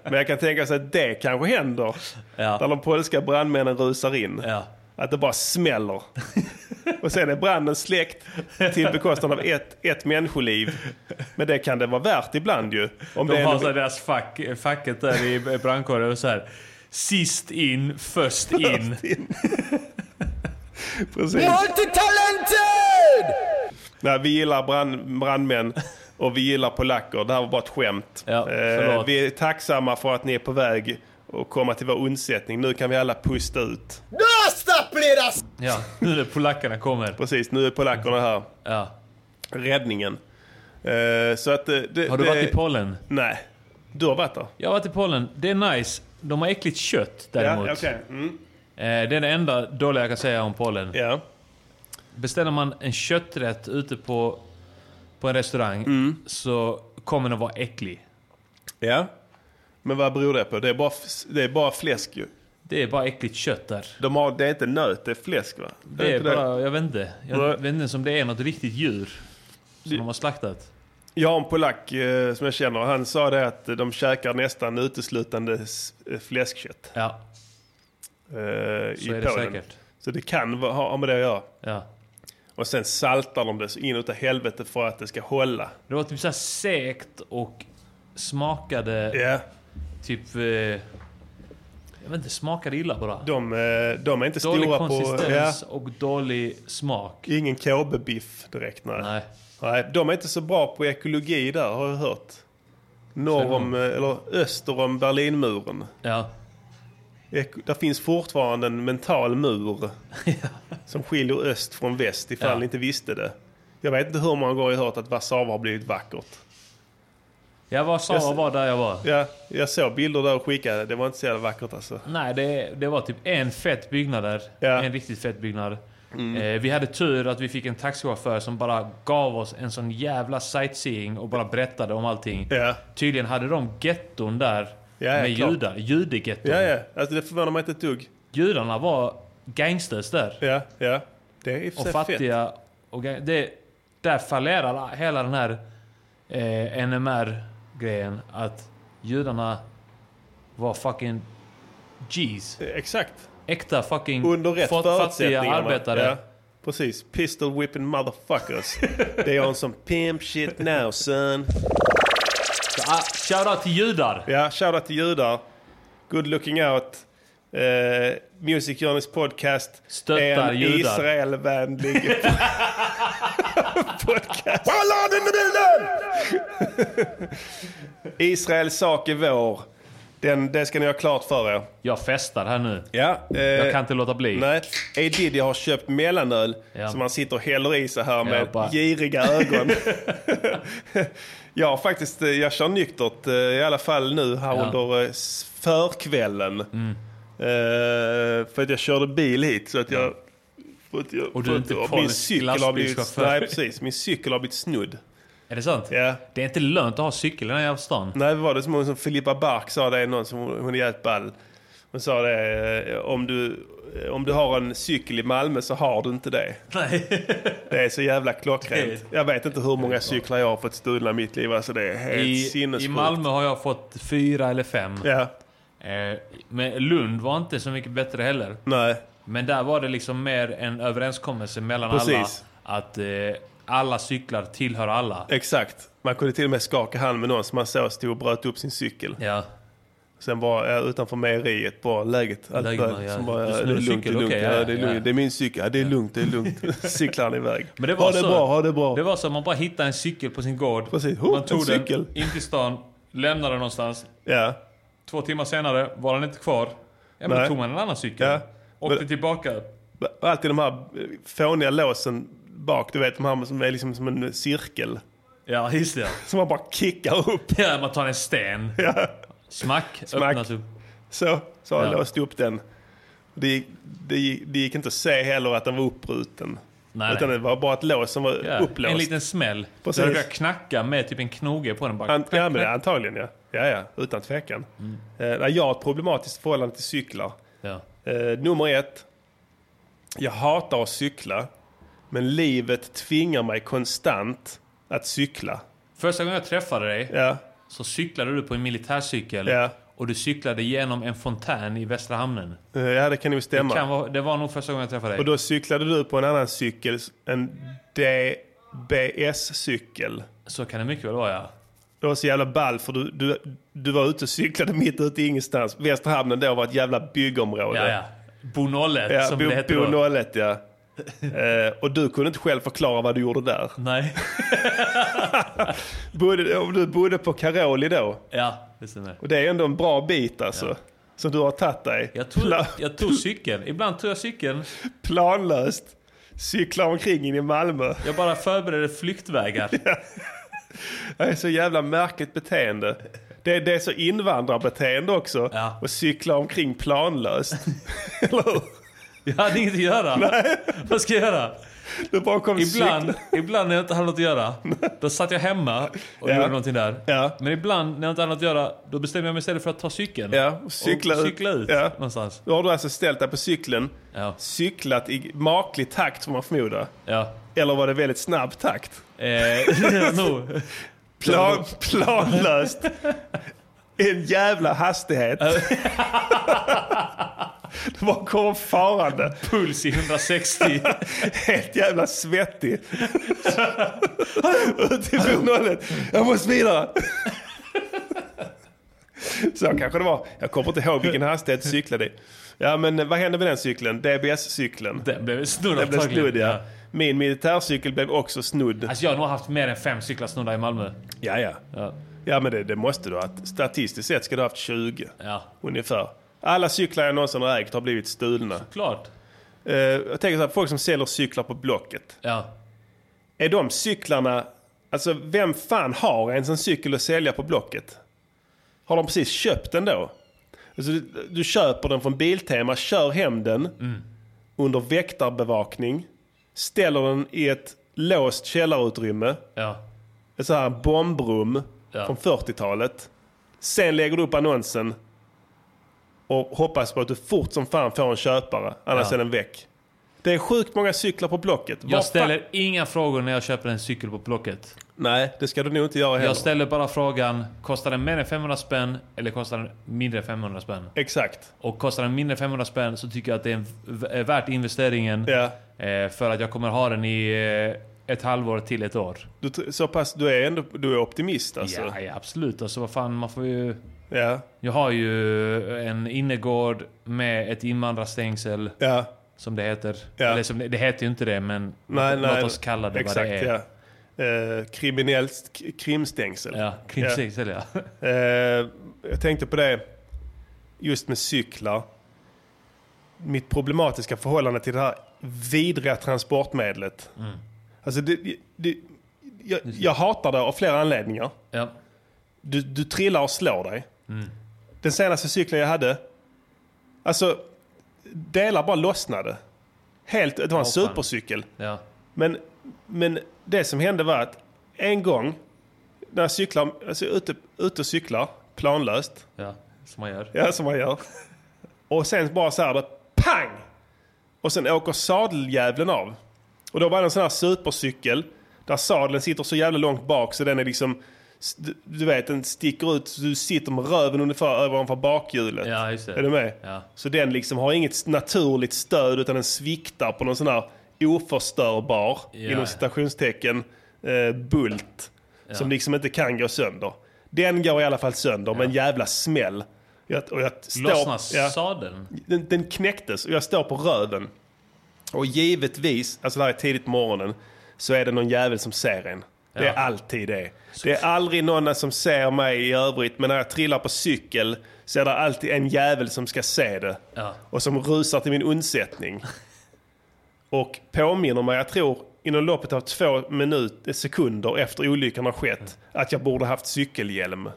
Men jag kan tänka sig att det kanske händer. När
Ja.
de polska brandmännen rusar in.
ja.
Att det bara smäller. Och sen är branden släckt till bekostnad av ett, ett människoliv. Men det kan det vara värt ibland ju. Om det
De
är
har
en-
så här deras fack, facket där i brandkåren och så här. Sist in, först in.
Precis. Nej, vi gillar brand, brandmän och vi gillar polacker. Det här var bara ett skämt.
Ja,
eh,
förlåt.
vi är tacksamma för att ni är på väg att komma till vår undsättning. Nu kan vi alla pusta ut.
Dosta pledas!
Ja, nu när polackerna kommer.
Precis, nu är polackerna här.
Ja.
Räddningen. Eh, så att eh, det,
Har du
det,
varit i Polen?
Nej. Du har varit där?
Jag har varit i Polen. Det är nice. De har äckligt kött däremot.
Ja, okej. Mm.
Eh, Det är det enda dåliga jag kan säga om Polen.
Ja.
Beställer man en kötträtt ute på på en restaurang
Mm.
så kommer den vara äcklig.
Ja. Men vad beror det på? Det är bara, f- det är bara fläsk ju.
Det är bara äckligt kött där.
De har, det är inte nöt, det är fläsk va?
Det är
inte det?
bara, jag vet inte. Jag
Nej.
vet inte ens om det är något riktigt djur som de har slaktat.
Jag har en polack eh, som jag känner och han sa det att de käkar nästan uteslutande s- eh, fläskkött.
Ja.
Eh, I
Så är det
Polen.
säkert.
Så det kan va- ha ha med det att göra.
Ja.
Och sen saltar de det så in utav helvete för att det ska hålla.
Det var typ så här segt och smakade
Ja.
typ... Eh, jag vet inte, smakade illa bara.
De, eh, de är inte
Dålig
stora på... Ja,
konsistens och dålig smak.
ingen KB-biff direkt. Nej.
Nej.
Nej, de är inte så bra på ekologi där har jag hört. Norr om, eh, eller öster om Berlinmuren.
Ja.
Ek- Där finns fortfarande en mental
[LAUGHS]
mur som skiljer öst från väst ifall
Ja.
ni inte visste det. Jag vet inte hur många gånger jag har hört att Warszawa har blivit vackert.
Jag var sa
Jag s-
var där jag var.
Ja, jag såg bilder där och skickade. Det var inte så jävla vackert alltså.
Nej, det, det var typ en fett byggnad där.
Ja. Mm.
En riktigt fett byggnad. Eh, vi hade tur att vi fick en taxichaufför som bara gav oss en sån jävla sightseeing och bara berättade om allting.
Ja,
Tydligen hade de getton där
Ja, ja,
med
klart.
judar. Judegetton.
ja, ja. Alltså, det förvånar mig inte ett dugg.
Judarna var gangsters där.
Ja, ja. Det är i och för
Och
sig fett.
fattiga. Och gang- det, där fallerar hela den här eh, NMR-grejen. Att judarna var fucking G's.
Exakt.
Äkta fucking
Under rätt
fat- fattiga
förutsättningar.
arbetare.
Ja, precis. Pistol whipping
[LAUGHS]
motherfuckers. They on some pimp shit now son.
Ah, Shoutout till judar!
Ja, shoutout till judar. Good looking out. Uh, Music Journeys podcast
Stöttar
är en
judar.
Israelvänlig podcast. Israels sak är vår. Den, det ska ni ha klart för er.
Jag festar här nu.
Ja, eh,
Jag kan inte låta bli.
Nej, A. Diddy har köpt mellanöl
Ja.
som han sitter och häller i sig här med
bara-
giriga
[LAUGHS]
ögon. jag har faktiskt, eh, jag kör nyktert eh, i alla fall nu här
Ja. Mm.
under eh, s- förkvällen. Eh, för att jag körde bil hit så att jag... För att jag
Och du
för
är
att-
inte
och min
polsk
cykel har blivit,
lastbilschaufför.
Nej, precis. Min cykel har blivit snudd.
Är det sant?
Ja. Mm.
Det är inte lönt att ha cykel i den här jävla stan.
Nej, det var det som hon som Filippa Bark sa det, någon som hon är jävligt ball. Hon sa det, eh, om du, eh, om du har en cykel i Malmö så har du inte det.
Nej.
[LAUGHS] Det är så jävla klockrent. Jag vet inte hur många cyklar jag har fått stulna i mitt liv. Alltså det är helt
I, I
sinnessjukt.
Malmö har jag fått fyra eller fem.
Ja,
Eh, Men Lund var inte så mycket bättre heller.
nej.
Men där var det liksom mer en överenskommelse mellan
Precis.
alla. Att eh, alla cyklar tillhör alla.
Exakt. Man kunde till och med skaka hand med någon som man såg stod och bröt upp sin cykel.
Ja.
Sen var jag utanför mejeriet, bara läget. Allt
Läget,
bra.
ja.
Som bara, ja,
Du
det är
snor
lugnt, det är
cykel,
lugnt.
okej,
Ja,
ja,
det är
ja.
lugnt. Det är min cykel. Ja, det är lugnt, det är
[LAUGHS]
lugnt. Cyklar han iväg.
Men det var
ha det
så.
bra, ha det bra.
Det var som att man bara hittade en cykel på sin gård.
Precis. Oh,
Man
en
tog den
cykel.
in till stan, lämnade den någonstans.
Ja,
Två timmar senare var den inte kvar. Ja, men
Nej.
då tog man en annan cykel.
Ja.
Åkte
Men-
tillbaka.
Och Alltid de här eh, fåniga låsen bak, du vet de här som är liksom som en cirkel.
Ja, just det.
Som man bara kickar upp.
Ja, man tar en
[LAUGHS]
sten. Smack, öppnas upp.
Så, så har han
Ja.
låst upp den. Det gick, det, gick, det gick inte att se heller att den var uppbruten.
Nej,
utan
nej.
det var bara ett lås som var
Ja,
upplåst.
En liten smäll.
Precis.
Precis. Där jag knacka med typ en knoge på den. Bara,
Ant, ja, men det, antagligen ja. ja, ja utan tvekan.
Mm.
Eh, nej, jag har ett problematiskt förhållande till cyklar.
Ja.
Eh, nummer ett. Jag hatar att cykla. Men livet tvingar mig konstant att cykla.
Första gången jag träffade dig
Ja,
så cyklade du på en militärcykel.
Ja.
Och du cyklade genom en fontän i Västra Hamnen.
eh, ja det kan ju stämma.
Kan vara, det var nog första gången jag träffade
Och
dig.
då cyklade du på en annan cykel, en DBS-cykel.
Så kan det mycket väl vara ja.
Det var så jävla ball för du, du, du var ute och cyklade mitt ute i ingenstans. Västra hamnen då var ett jävla byggområde.
Ja, ja. Bo 01
Ja,
som
bo,
det hette
bo
då.
01 ja. Eh, och du kunde inte själv förklara vad du gjorde där.
Nej. [LAUGHS]
Bodde, om du bodde på Karoli då.
Ja, det stämmer.
Och det är ändå en bra bit alltså. Som du har tagit dig.
Jag tog,
Pla-
jag tog cykeln. Ibland tog jag cykeln.
planlöst. Cyklar omkring in i Malmö.
Jag bara
[LAUGHS]
förberedde flyktvägar.
Det är så jävla märkligt beteende. Det, det är så invandrarbeteende också.
Ja.
Och cykla omkring
[LAUGHS]
planlöst. Eller hur?
Jag hade inget att göra. Vad ska jag göra?
Det bara kom
Ibland, ibland när jag inte hade något att göra, då satt jag hemma och
Ja.
gjorde någonting där.
Ja.
Men ibland när jag inte hade något att göra, då bestämde jag mig istället för att ta cykeln.
Ja, och cykla ut.
cykla ut
Ja.
någonstans.
Då har du alltså ställt dig på cykeln,
Ja.
cyklat i maklig takt får man förmoda.
Ja.
Eller var det väldigt snabb takt?
Eh, [LAUGHS] no. [LAUGHS]
Plan, planlöst. En jävla hastighet. [LAUGHS] Det var kom farande.
Puls i 160.
Helt jävla svettig. Utifrån nollet. Jag måste vidare. Så kanske det var. Jag kommer inte ihåg vilken hastighet jag cyklade i. Ja men vad hände med den cykeln? DBS-cykeln.
Den blev snudd
Den blev
antagligen.
snudd ja. Min militärcykel blev också snudd.
Alltså jag har nog haft mer än fem cyklar snodda i Malmö.
Ja ja.
Ja.
Ja men det, det måste du ha. haft. Statistiskt sett ska du ha haft 20.
Ja.
Ungefär. Alla cyklar jag någonsin har ägt har blivit stulna.
Klart.
Eh, jag tänker så här, folk som säljer cyklar på Blocket.
Ja.
Är de cyklarna... Alltså vem fan har ens en cykel att sälja på Blocket? Har de precis köpt den då? Alltså, du, du köper den från Biltema, kör hem den
Mm.
under väktarbevakning. Ställer den i ett låst källarutrymme.
Ja.
Ett så här bombrum från 40-talet. Sen lägger du upp annonsen och hoppas på att du fort som fan får en köpare. Annars
Ja.
är den väck. Det är sjukt många cyklar på Blocket. Var fan-
Jag ställer inga frågor när jag köper en cykel på Blocket.
Nej, det ska du nog inte göra heller.
Jag ställer bara frågan, kostar den mer än 500 spänn eller kostar den mindre än 500 spänn?
Exakt.
Och kostar den mindre än 500 spänn så tycker jag att det är en v- eh, värt investeringen.
Ja.
Eh, För att jag kommer ha den i eh, ett halvår till ett år.
Du, tr- så pass, du är ändå du är optimist alltså.
Ja, ja, absolut. Alltså vad fan, man får ju...
Ja.
Jag har ju en innergård med ett invandrarstängsel.
ja.
Som det heter.
Ja.
Eller som det, det heter ju inte det, men
Nej,
låt
nej.
oss kalla det
Exakt,
vad det är.
Ja. Eh, kriminellt k- krimstängsel.
Ja, [LAUGHS] krimstängsel ja.
Eh, jag tänkte på det, just med cyklar. Mitt problematiska förhållande till det här vidriga transportmedlet.
Mm.
Alltså det, det, jag, jag hatar det av flera anledningar.
ja.
Du, du trillar och slår dig. Den senaste cykeln jag hade, alltså delar bara lossnade. Helt, det var en supercykel.
Ja.
Men, men det som hände var att en gång när jag cyklar, alltså ute, ute och cyklar planlöst,
Ja. Som man gör.
ja, som man gör, och sen bara så här, då, pang! Och sen åker sadeljävlen av. Och då var det en sån här supercykel där sadeln sitter så jävla långt bak så den är liksom, du, du vet, den sticker ut, så du sitter med röven ungefär ovanför bakhjulet.
Ja, just det.
Är du med?
Ja.
Så den liksom har inget naturligt stöd utan den sviktar på någon sån här oförstörbar, inom citationstecken, eh, bult. Som liksom inte kan gå sönder. Den går i alla fall sönder med en jävla smäll. Jag, och jag står,
Lossnas
ja,
sadeln?
den, den knäcktes och jag står på röven. Och givetvis, alltså det här är tidigt på morgonen, så är det någon jävel som ser en. Det är alltid det. Det är aldrig någon som ser mig i övrigt, men när jag trillar på cykel så är det alltid en jävel som ska se det.
Ja.
Och som rusar till min undsättning. Och påminner mig, jag tror, inom loppet av två minuter, sekunder efter olyckan har skett, att jag borde haft cykelhjälm.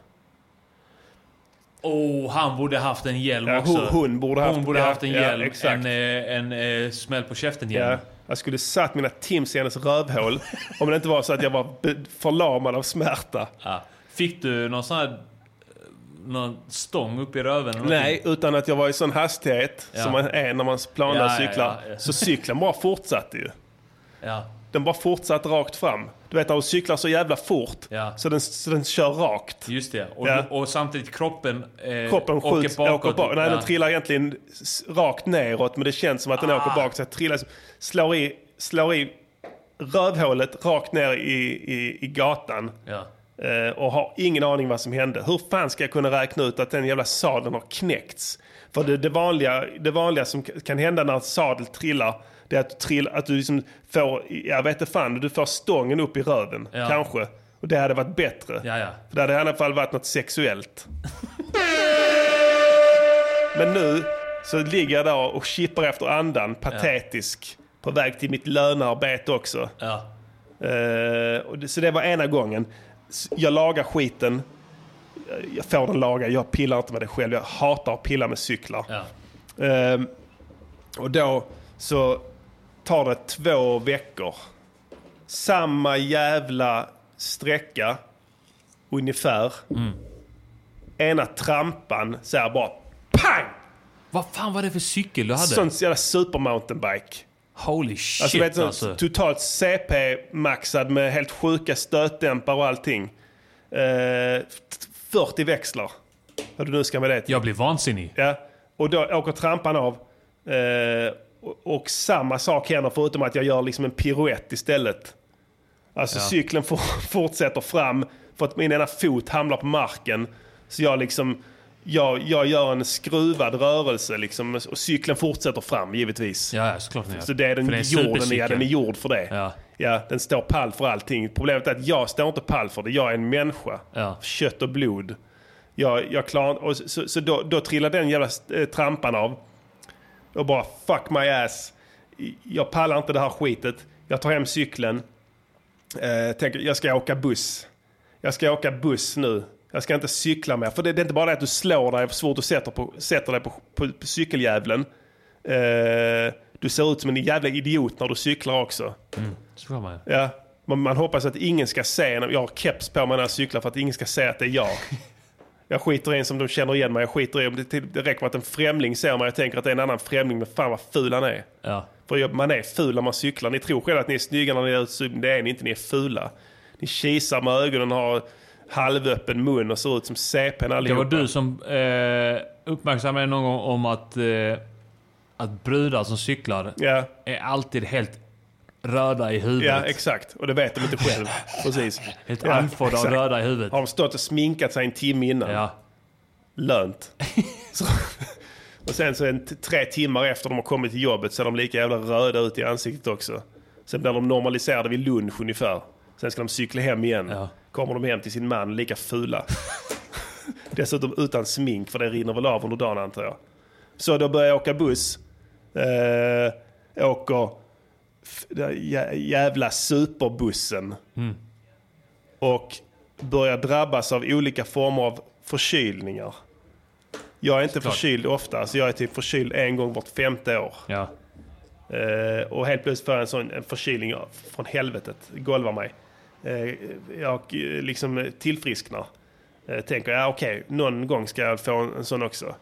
Oh, han borde haft en hjälm
Ja,
också.
hon- hon borde haft-
hon borde
ja,
haft en
ja,
hjälm.
exakt.
en eh, en eh, smäll på käften-hjälm.
Ja, jag skulle satt mina tims i hennes
[LAUGHS]
rövhål om det inte var så att jag var be- förlamad av smärta.
Ja. Fick du någon sån här... eh, Någon stång upp i röven? eller
Nej, utan att jag var i sån hastighet
Ja.
som man är när man planlöst
Ja, ja,
cyklar.
ja, ja.
Så cykeln bara fortsatte ju.
någonting? Ja.
Den bara fortsatte rakt fram. Du vet, när du cyklar så jävla fort
Ja.
så, den, så den kör rakt.
Just det. Och,
Ja.
och samtidigt kroppen... Eh,
Kroppen skjuts, åker bakåt. Nej,
Ja.
den trillar egentligen s- rakt neråt men det känns som att den
Ah.
åker bakåt. Så jag trillar, slår, i, slår i rövhålet rakt ner i, i, i gatan.
Ja.
Eh, och har ingen aning vad som hände. Hur fan ska jag kunna räkna ut att den jävla sadeln har knäckts? För det, det, vanliga, det vanliga som k- kan hända när en sadel trillar, det är att du, trill, att du liksom får, jag vet inte fan, du får stången upp i röven.
Ja.
Kanske. Och det hade varit bättre.
Ja, ja.
För det hade i alla fall varit något sexuellt. Men nu så ligger jag där och kippar efter andan, patetisk. På väg till mitt lönearbete också.
Ja.
Eh, och det, så det var ena gången. S- Jag lagar skiten. Eh, Jag får den lagad. Jag pillar inte med det själv. Jag hatar att pilla med cyklar.
Ja.
Eh, och då Ehm, så tar det två veckor. Samma jävla sträcka, ungefär. Ena trampan så här bara pang!
Vad fan var det för cykel du hade?
Sån jävla supermountainbike.
Holy shit
Alltså, vet,
alltså.
du, Totalt CP-maxad med helt sjuka stötdämpare och allting. Eh, 40 växlar. Vad du nu ska med det till.
Jag blir vansinnig.
Ja. Och då åker trampan av. Eh, och, och samma sak händer förutom att jag gör liksom en piruett istället. Alltså
Ja.
cykeln for, [LAUGHS] fortsätter fram för att min ena fot hamnar på marken. Så jag liksom, jag, jag gör en skruvad rörelse liksom och cykeln fortsätter fram givetvis.
Ja, ja, såklart ni gör.
Så det är den
För det är en
jorden, ja,
supercykel.
den är gjord för det.
Ja.
Ja, den står pall för allting. Problemet är att jag står inte pall för det. Jag är en människa.
Ja.
Kött och blod. Jag, jag klarar och Så, så då, då trillar den jävla eh, trampan av. Och bara fuck my ass. Jag pallar inte det här skitet. Jag tar hem cykeln. Eh, tänker jag ska åka buss. Jag ska åka buss nu. Jag ska inte cykla mer. För det, det är inte bara det att du slår dig, det är svårt att sätta, på, sätta dig på, på, på cykeljävlen. Eh, du ser ut som en jävla idiot när du cyklar också.
Så bra man är.
Ja, man, man hoppas att ingen ska se. när- Jag har keps på mig när jag cyklar för att ingen ska se att det är jag. Jag skiter i en som de känner igen mig. Jag skiter i om det, till- det räcker med att en främling ser mig. Jag tänker att det är en annan främling, men fan vad ful han är.
Ja.
För jag- man är ful när man cyklar. Ni tror själva att ni är snygga när ni är ute, men det är ni inte. Ni är fula. Ni kisar med ögonen, har halvöppen mun och ser ut som CPn
Det var
allihopa.
du som eh, uppmärksammade någon gång om att, eh, att brudar som cyklar
Ja,
är alltid helt röda i huvudet.
ja, exakt. Och det vet de inte
[LAUGHS]
själv. Precis.
helt
Ja,
andfådda och
exakt.
röda i huvudet.
Har de stått och sminkat sig en timme innan?
Ja.
lönt. Så, och sen så en, t- tre timmar efter de har kommit till jobbet så är de lika jävla röda ut i ansiktet också. Sen blir de normaliserade vid lunch ungefär. Sen ska de cykla hem igen.
Ja.
Kommer de hem till sin man lika fula. [LAUGHS] Dessutom utan smink för det rinner väl av under dagen antar jag. Så då börjar jag åka buss. Eh, åker f- där jä- jävla superbussen. Och börjar drabbas av olika former av förkylningar. Jag är inte förkyld ofta, så jag är typ förkyld en gång vart femte år.
Ja.
Eh, och helt plötsligt får jag en sån en förkylning av- från helvetet, golvar mig. Eh, jag eh, liksom eh, tillfrisknar. Eh, tänker, ja okej, någon gång ska jag få en, en sån också.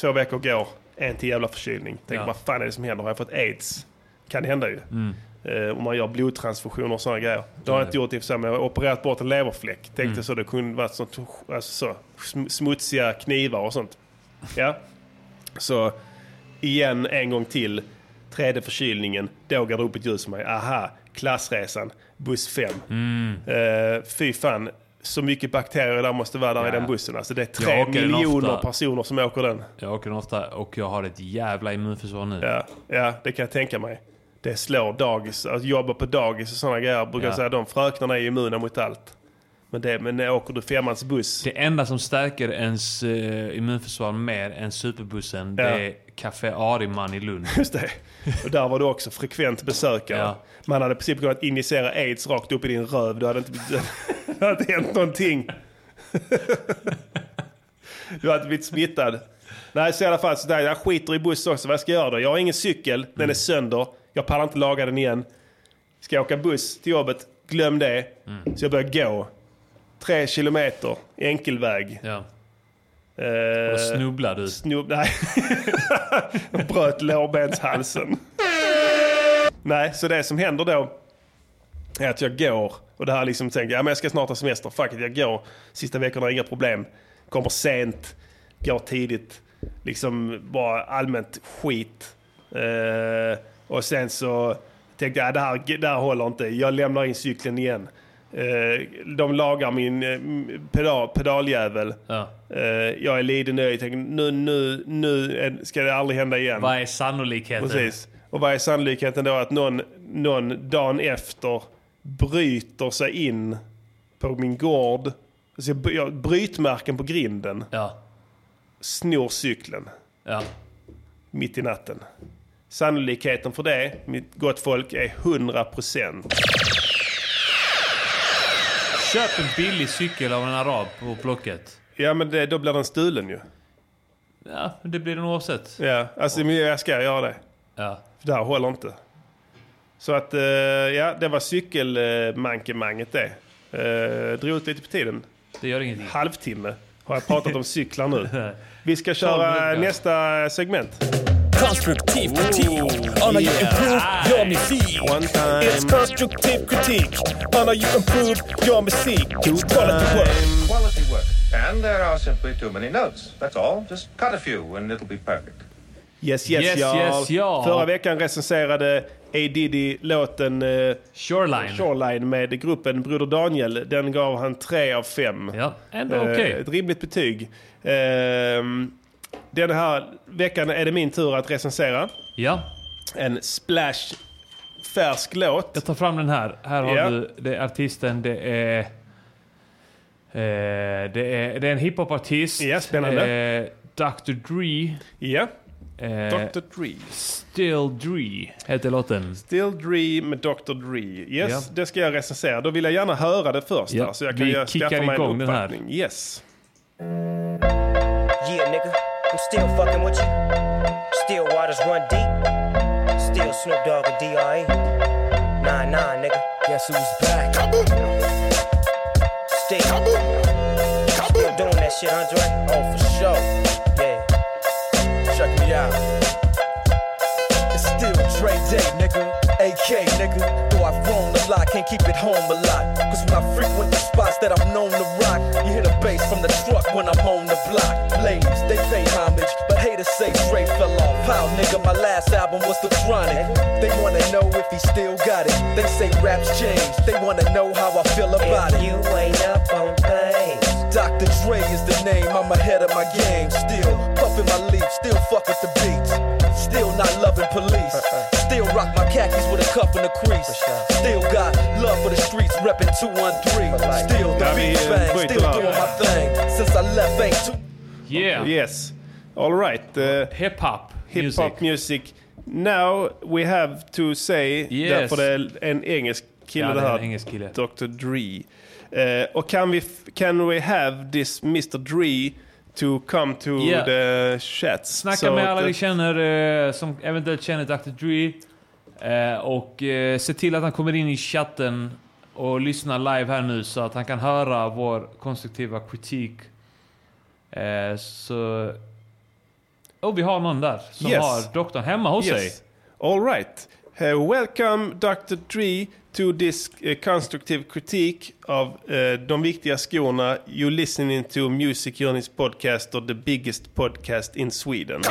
Två veckor går, en till jävla förkylning. Tänker,
Ja.
vad fan är det som händer? Har jag fått aids? Kan hända ju. Eh, om man gör blodtransfusioner och sådana grejer. Det har jag inte gjort i och för sig, men jag har opererat bort en leverfläck. Tänkte så, det kunde varit sånt, alltså så, sm- smutsiga knivar och sånt. Ja. Så igen en gång till. Tredje förkylningen. Då går det upp ett ljus för mig. Aha, klassresan, buss 5.
Mm.
Eh, fy fan, så mycket bakterier där måste vara där i den bussen. Alltså det är tre
Jag åker den
miljoner
ofta.
personer som åker den.
Jag åker den ofta och jag har ett jävla immunförsvar nu.
Ja, ja, det kan jag tänka mig. Det slår dagis, att jobba på dagis och sådana grejer. Jag brukar
Ja.
säga att de fröknarna är immuna mot allt. Men, det, men när åker du femmans buss,
Det enda som stärker ens eh, immunförsvar mer än superbussen,
Ja.
det är Café Ariman i Lund.
Just det. Och där var du också frekvent besökare.
Ja.
Man hade i princip kunnat injicera aids rakt upp i din röv. Det hade inte, [LAUGHS] det hade inte hänt någonting. Du hade inte blivit smittad. Nej, så i alla fall så där, jag skiter i buss också. Vad ska jag göra då? Jag har ingen cykel. Den
Mm.
är sönder. Jag pallar inte laga den igen. Ska jag åka buss till jobbet? Glöm det.
Mm.
Så jag börjar gå. Tre kilometer enkelväg.
Ja.
Eh,
Och snubblar du.
Snob... [LAUGHS] Nej. Bröt lårbenshalsen. Nej, så det som händer då är att jag går och det här liksom tänker jag, men jag ska snart ha semester. Fuck it, jag går. Sista veckorna, inga problem. Kommer sent, går tidigt. Liksom bara allmänt skit. Eh, och sen så tänkte jag, det här, det här håller inte. Jag lämnar in cykeln igen. Eh, de lagar min eh, pedal, pedaljävel.
Ja.
Eh, jag är lite nöjd. Tänker, nu, nu, nu är- ska det aldrig hända igen.
Vad är sannolikheten?
Precis. Och vad är sannolikheten då att någon, någon dagen efter bryter sig in på min gård. Alltså jag, bry- jag, brytmärken på grinden.
Ja.
Snor cykeln
Ja.
mitt i natten. Sannolikheten för det, mitt gott folk, är 100%.
Köp en billig cykel av en arab på Blocket.
Ja men det, då blir den stulen ju.
Ja, det blir den oavsett.
Ja, alltså men jag ska göra det.
Ja.
För det här håller inte. Så att, eh, ja, det var cykelmankemanget det. Eh, drog ut lite på tiden.
Det gör ingenting.
Halvtimme har jag pratat om cyklar nu. Vi ska
Tolv
köra
minuter.
nästa segment.
Konstruktiv kritik on how you improve your musik. It's constructive critique on how you improve your music. Quality work.
Quality work. And there are simply too many notes. That's all. Just cut a few and it'll be perfect.
Yes, yes,
Yes,
y'all.
yes, y'all.
Förra veckan recenserade A. Diddy låten eh,
Shoreline.
Shoreline med gruppen Broder Daniel. Den gav han tre av fem.
Ja, ändå
Eh,
okej.
Ett rimligt betyg. Ehm, den här veckan är det min tur att recensera.
Ja.
En splash färsk låt.
Jag tar fram den här. Här har
Ja.
du det är artisten. Det är, eh, det är, det är en hiphopartist. Ja,
spännande.
Eh, Dr. Dre.
Ja.
Eh,
Dr. Dre.
Still Dre heter låten.
Still Dre med Dr. Dre. Yes,
Ja.
det ska jag recensera. Då vill jag gärna höra det först.
Ja,
här, Så jag kan
vi
göra-
kickar
skaffa mig en
igång den här.
uppfattning. Yes.
Yeah, nigga, I'm still fucking with you. Still waters run deep. Still Snoop Dogg and D.R.E. Nah, nah, nigga. Guess who's back? Still. Still doing that shit, Andre? Oh, for sure. Yeah. Check me out.
It's still Dre Day, nigga. AK, nigga. Though I've grown a lot, can't keep it home a lot. Cause when I frequent the spots that I'm known to rock, you hear the bass from the truck when I'm on the block. Ladies, they pay homage, but haters say Dre fell off. Pow, nigga, my last album was The Chronic. They wanna know if he still got it. They say raps change, they wanna know how I feel about it. You ain't up on things. Dr. Dre is the name, I'm ahead of my game. Still puffin' my leaf, still fuck with the beats. Still not loving police. Still rock my khakis with a cuff and a crease. Still got love for the streets, reppin' 213. Still the
Now we
big
in
bang,
Great
still
Love.
doing my thing. Since I left, ain't too
Yeah.
Yes. All right. Uh,
hip hop.
Hip hop music. Now we have to say,
Yes.
därför det är en engelsk kille
Ja,
det
det är
här.
en engelsk kille.
Dr. Dre. Eh, och kan vi, f- can we have this Mr. Dre to come to
Yeah.
the chats?
Snacka
So
med alla
that-
ni känner eh, som eventuellt känner Dr. Dre. Eh, och eh, se till att han kommer in i chatten och lyssnar live här nu så att han kan höra vår konstruktiva kritik. Eh, så... Oh, vi har någon där som
Yes.
har doktorn hemma hos sig.
All right. Uh, welcome Dr. Dre to this uh, constructive critique of uh, de viktiga skorna. You listening to Music Journeys podcast or the biggest podcast in Sweden.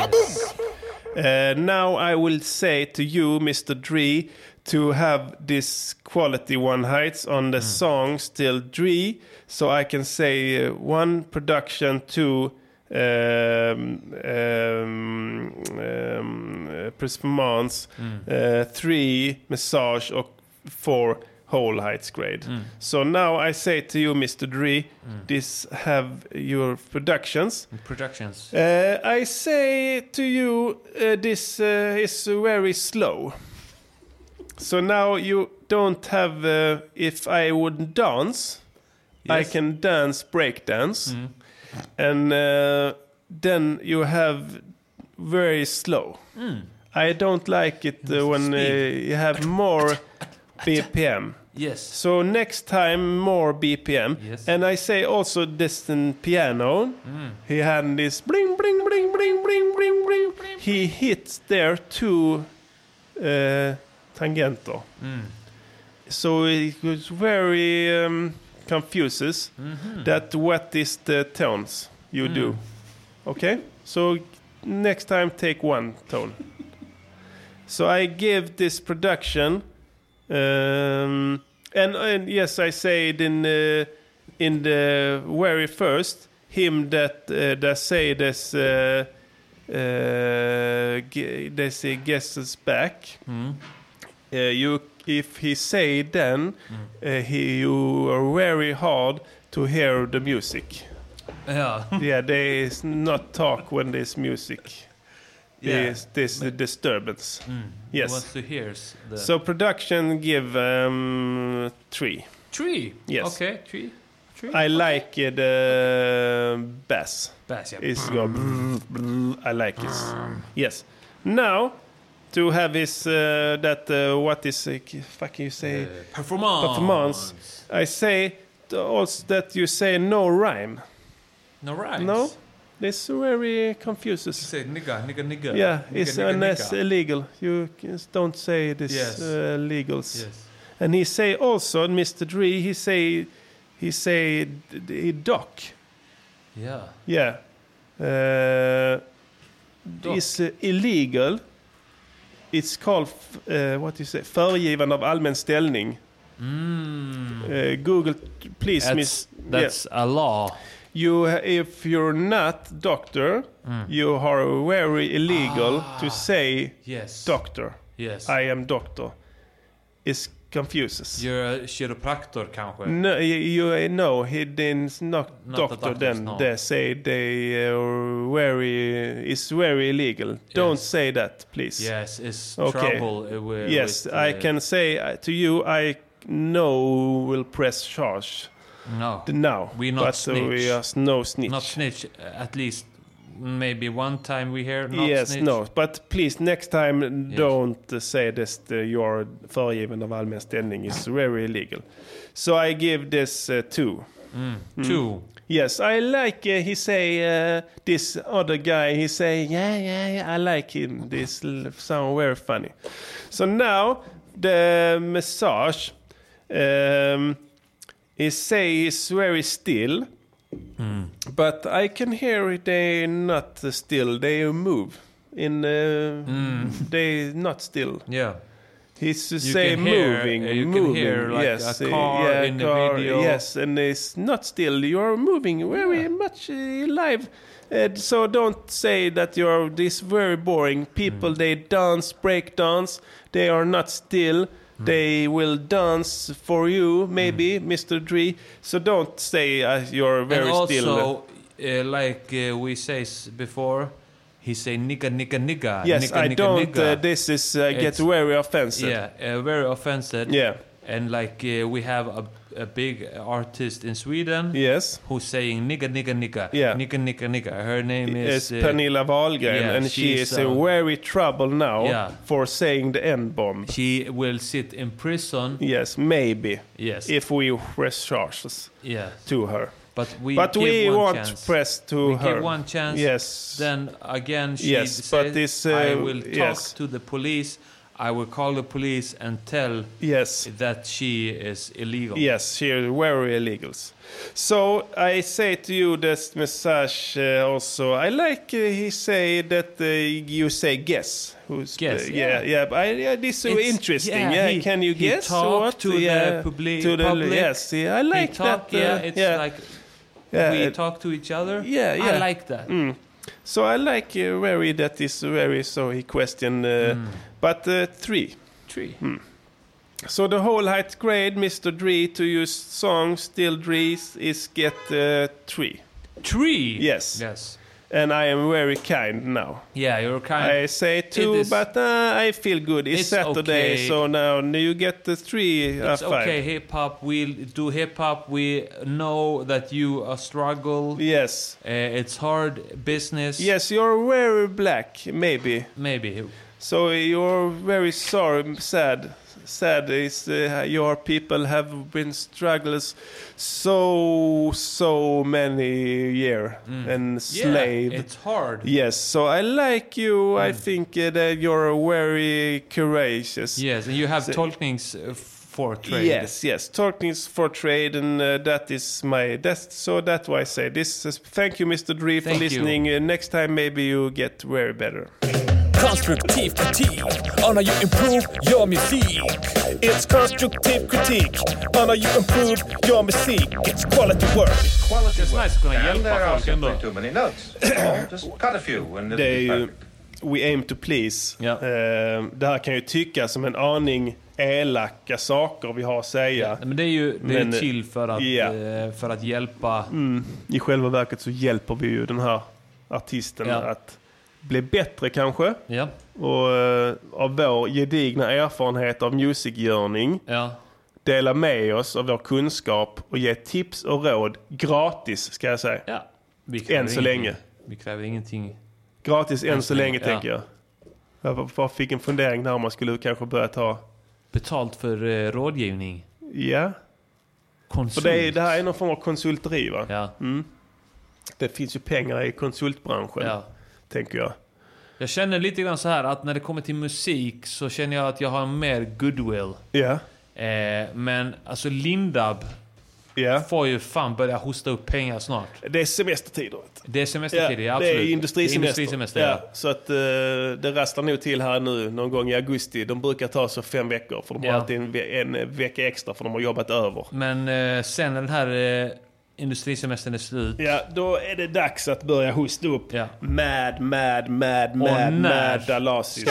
Uh, now I will say to you, Mr. Dre, to have this quality one heights on the song Still Dre, so I can say uh, one production, two um, um, um, uh, performance, uh, three massage, or four whole heights grade.
Mm.
So now I say to you, Mr. Dre, this have your productions.
Productions.
Uh, I say to you, uh, this uh, is very slow. So now you don't have. Uh, if I would dance, I
Yes. Mm.
can dance breakdance, and uh, then you have very slow.
Mm.
I don't like it uh, when uh, you have more BPM.
Yes.
So next time more BPM.
Yes.
And I say also distant piano.
Mm.
He had this bling bling bling bling bling bling bling. He hits there two uh, tangenter.
Mm.
So it was very um, confuses
Mhm.
that what is the tones you do.
Mm.
Okay? So next time take one tone. so I give this production um, and, and yes I said in uh, in the very first him that uh, that say this uh, uh, g- they say guesses back. Uh, you, if he say then, uh, he, you are very hard to hear the music.
Ja.
yeah, there is not talk when there's music. There
Yeah.
is this disturbance.
Mm.
Yes.
Wants to hears the-
So production give um, three.
Tree?
Yes.
Okej, tree. tree.
I like uh, the bass.
Bass, yeah.
It's go. I like it. Yes. Now to have his uh, that uh, what is uh, fucking you say
performance.
performance. I say t- also that you say no rhyme.
No rhymes.
No, this very confuses.
Say uh, nigga, nigga, nigga.
Yeah,
Nigga,
it's
nigga,
unless
nigga.
illegal. You c- don't say this
Yes.
uh, legals.
Yes.
And he say also, Mr. Dree, he say he say d- d- doc.
Yeah.
Yeah. Uh,
Doc.
Is uh, illegal. It's called f- uh, what you say föregivande av allmän ställning. Uh, Google, t- please,
Mm. That's-
miss.
that's a law.
You, ha- if you're not doctor,
Mm. Ah.
you are very illegal to say
yes.
doctor.
Yes.
I am doctor. It confuses.
You're a chiropractor kanske?
No, y- you uh, no, he didn't not,
Not the
doctor.
doctors,
Then
no.
they say they uh, very it's very illegal. Don't say that, please.
Yes, it's trouble, uh, wi-
yes,
with,
I
uh,
can say uh, to you, I know will press charge.
No.
D- no.
We not
but
snitch.
we are s- no snitch.
Not snitch. uh, At least maybe one time we hear not
yes,
snitch.
no. But please, next time, don't uh, say this. Uh, your föregiven av allmän ställning is very illegal. So I give this uh, two.
Mm.
Mm.
Two.
Yes, I like. Uh, he say uh, this other guy. He say, yeah, yeah, yeah. I like him. This l- sound very funny. So now the massage. Um, he say is very still, but I can hear they not still. They move in. Uh, They not still.
Yeah.
He's to
You
say
can hear-
moving,
uh, you can
moving.
hear, like,
yes,
a
uh,
car
yeah,
in the
car,
video.
Yes, and it's not still. You're moving very much uh, live. Uh, so don't say that you're this very boring. People
Mm.
they dance, break dance. They are not still.
Mm.
They will dance for you, maybe, Mr. Dree. So don't say uh, you're very
and
still.
also, uh, like uh, we say s- before, he say nigga, nigga, nigga.
Yes,
nigga,
I
nigga,
don't.
Nigga.
Uh, this is uh, get
It's-
very offensive.
Yeah, uh, very offensive.
Yeah.
And like uh, we have a, a big artist in Sweden.
Yes.
Who's saying nigga, nigga, nigga.
Yeah.
Nigga, nigga, nigga. Her name
is
is... uh,
Pernilla Wahlgren and she is in very trouble now
Yeah.
for saying the N bomb.
She will sit in prison.
Yes, maybe.
Yes.
If we press charges
Yes.
to her.
But we
but
give
we
one
won't
chance.
press to
we
her.
give one chance.
Yes.
Then again, she
Yes,
said,
but this,
"I
uh,
will talk
yes.
to the police. I will call the police and tell
yes.
that she is illegal."
Yes, she is very illegals. So I say to you this massage uh, also. I like uh, he say that uh, you say guess. Who's
Guess,
uh, yeah,
yeah.
yeah. But I, yeah this is
It's-
interesting.
yeah,
Yeah,
he-
can you
he
guess
talked
what?
to the
yeah,
publi-
to the
public.
yes. Yeah, I
He
like
talked,
that.
yeah,
uh,
it's like
Yeah,
we
uh,
talk to each other.
yeah, yeah.
I like that.
Mm. So I like uh, very that is very so he question, uh, but uh, three.
Hmm. Three.
Mm. So the whole height grade, Mr. Dree, to use song still Drees is get uh, three.
Three.
Yes.
Yes.
And I am very kind now.
Yeah, you're kind.
I say two,
is-
but uh, I feel good. It's,
It's
Saturday,
okay.
so now you get the three.
It's
uh, five.
okay, hip hop. We do hip hop. We know that you uh, struggle.
Yes.
Uh, it's hard business.
Yes, you're very black, maybe.
Maybe.
So you're very sorry, sad. Sad is uh, your people have been struggles so so many year and
Mm. Yeah,
slave.
it's Mm. hard.
Yes, so I like you. I think uh, that you're very courageous.
Yes, and you have
So-
tolknings uh, for trade.
Yes, yes. Talking is for trade, and uh, that is my. That's so. That's why I say this. Is, thank you, Mr. Dree, for
Thank you.
listening. Uh, next time, maybe you get very better.
Konstruktiv kritik on how you improve your music.
It's constructive critique on how you improve your music. It's quality work.
Quality
It's nice kunna
And there
hjälpa
are
folk ändå.
simply too many notes. That's all. Just cut a few and it'll
Det är
be
ju
perfect.
We aim to please. Eh, det här kan ju tyckas som en aning elaka saker vi har att säga.
Men det är ju, det är
Men,
ju till för att,
ja.
eh, för att hjälpa.
Mm. I själva verket så hjälper vi ju den här artisten
Ja.
att bli bättre kanske.
Ja.
Och eh, av vår gedigna erfarenhet av musikgörning.
Ja.
Dela med oss av vår kunskap och ge tips och råd gratis ska jag säga.
Ja. Vi kräver
Än så
ingenting.
länge.
Vi kräver ingenting.
Gratis än så länge
ja.
tänker jag. Jag bara fick en fundering där om man skulle kanske börja ta...
Betalt för eh, rådgivning?
Ja. För
Konsult.
det, är, det här är någon form av konsulteri va?
Ja.
Mm. Det finns ju pengar i konsultbranschen.
Ja.
Tänker jag.
Jag känner lite grann så här att när det kommer till musik så känner jag att jag har mer goodwill.
Ja.
Eh, men alltså Lindab får ju fan börja hosta upp pengar snart.
Det är semestertider. vet
Det är semestertider, ja,
Ja,
absolut.
Det är industrisemester.
Det är industrisemester,
ja.
ja.
Så att eh, det rasslar nog till här nu någon gång i augusti. De brukar ta så fem veckor för de har
Ja.
alltid en, ve- en vecka extra för de har jobbat över.
Men eh, sen när den här eh, industrisemestern är slut.
Ja, då är det dags att börja hosta upp. Mad, mad, mad,
Och
mad,
när
mad Dalasi.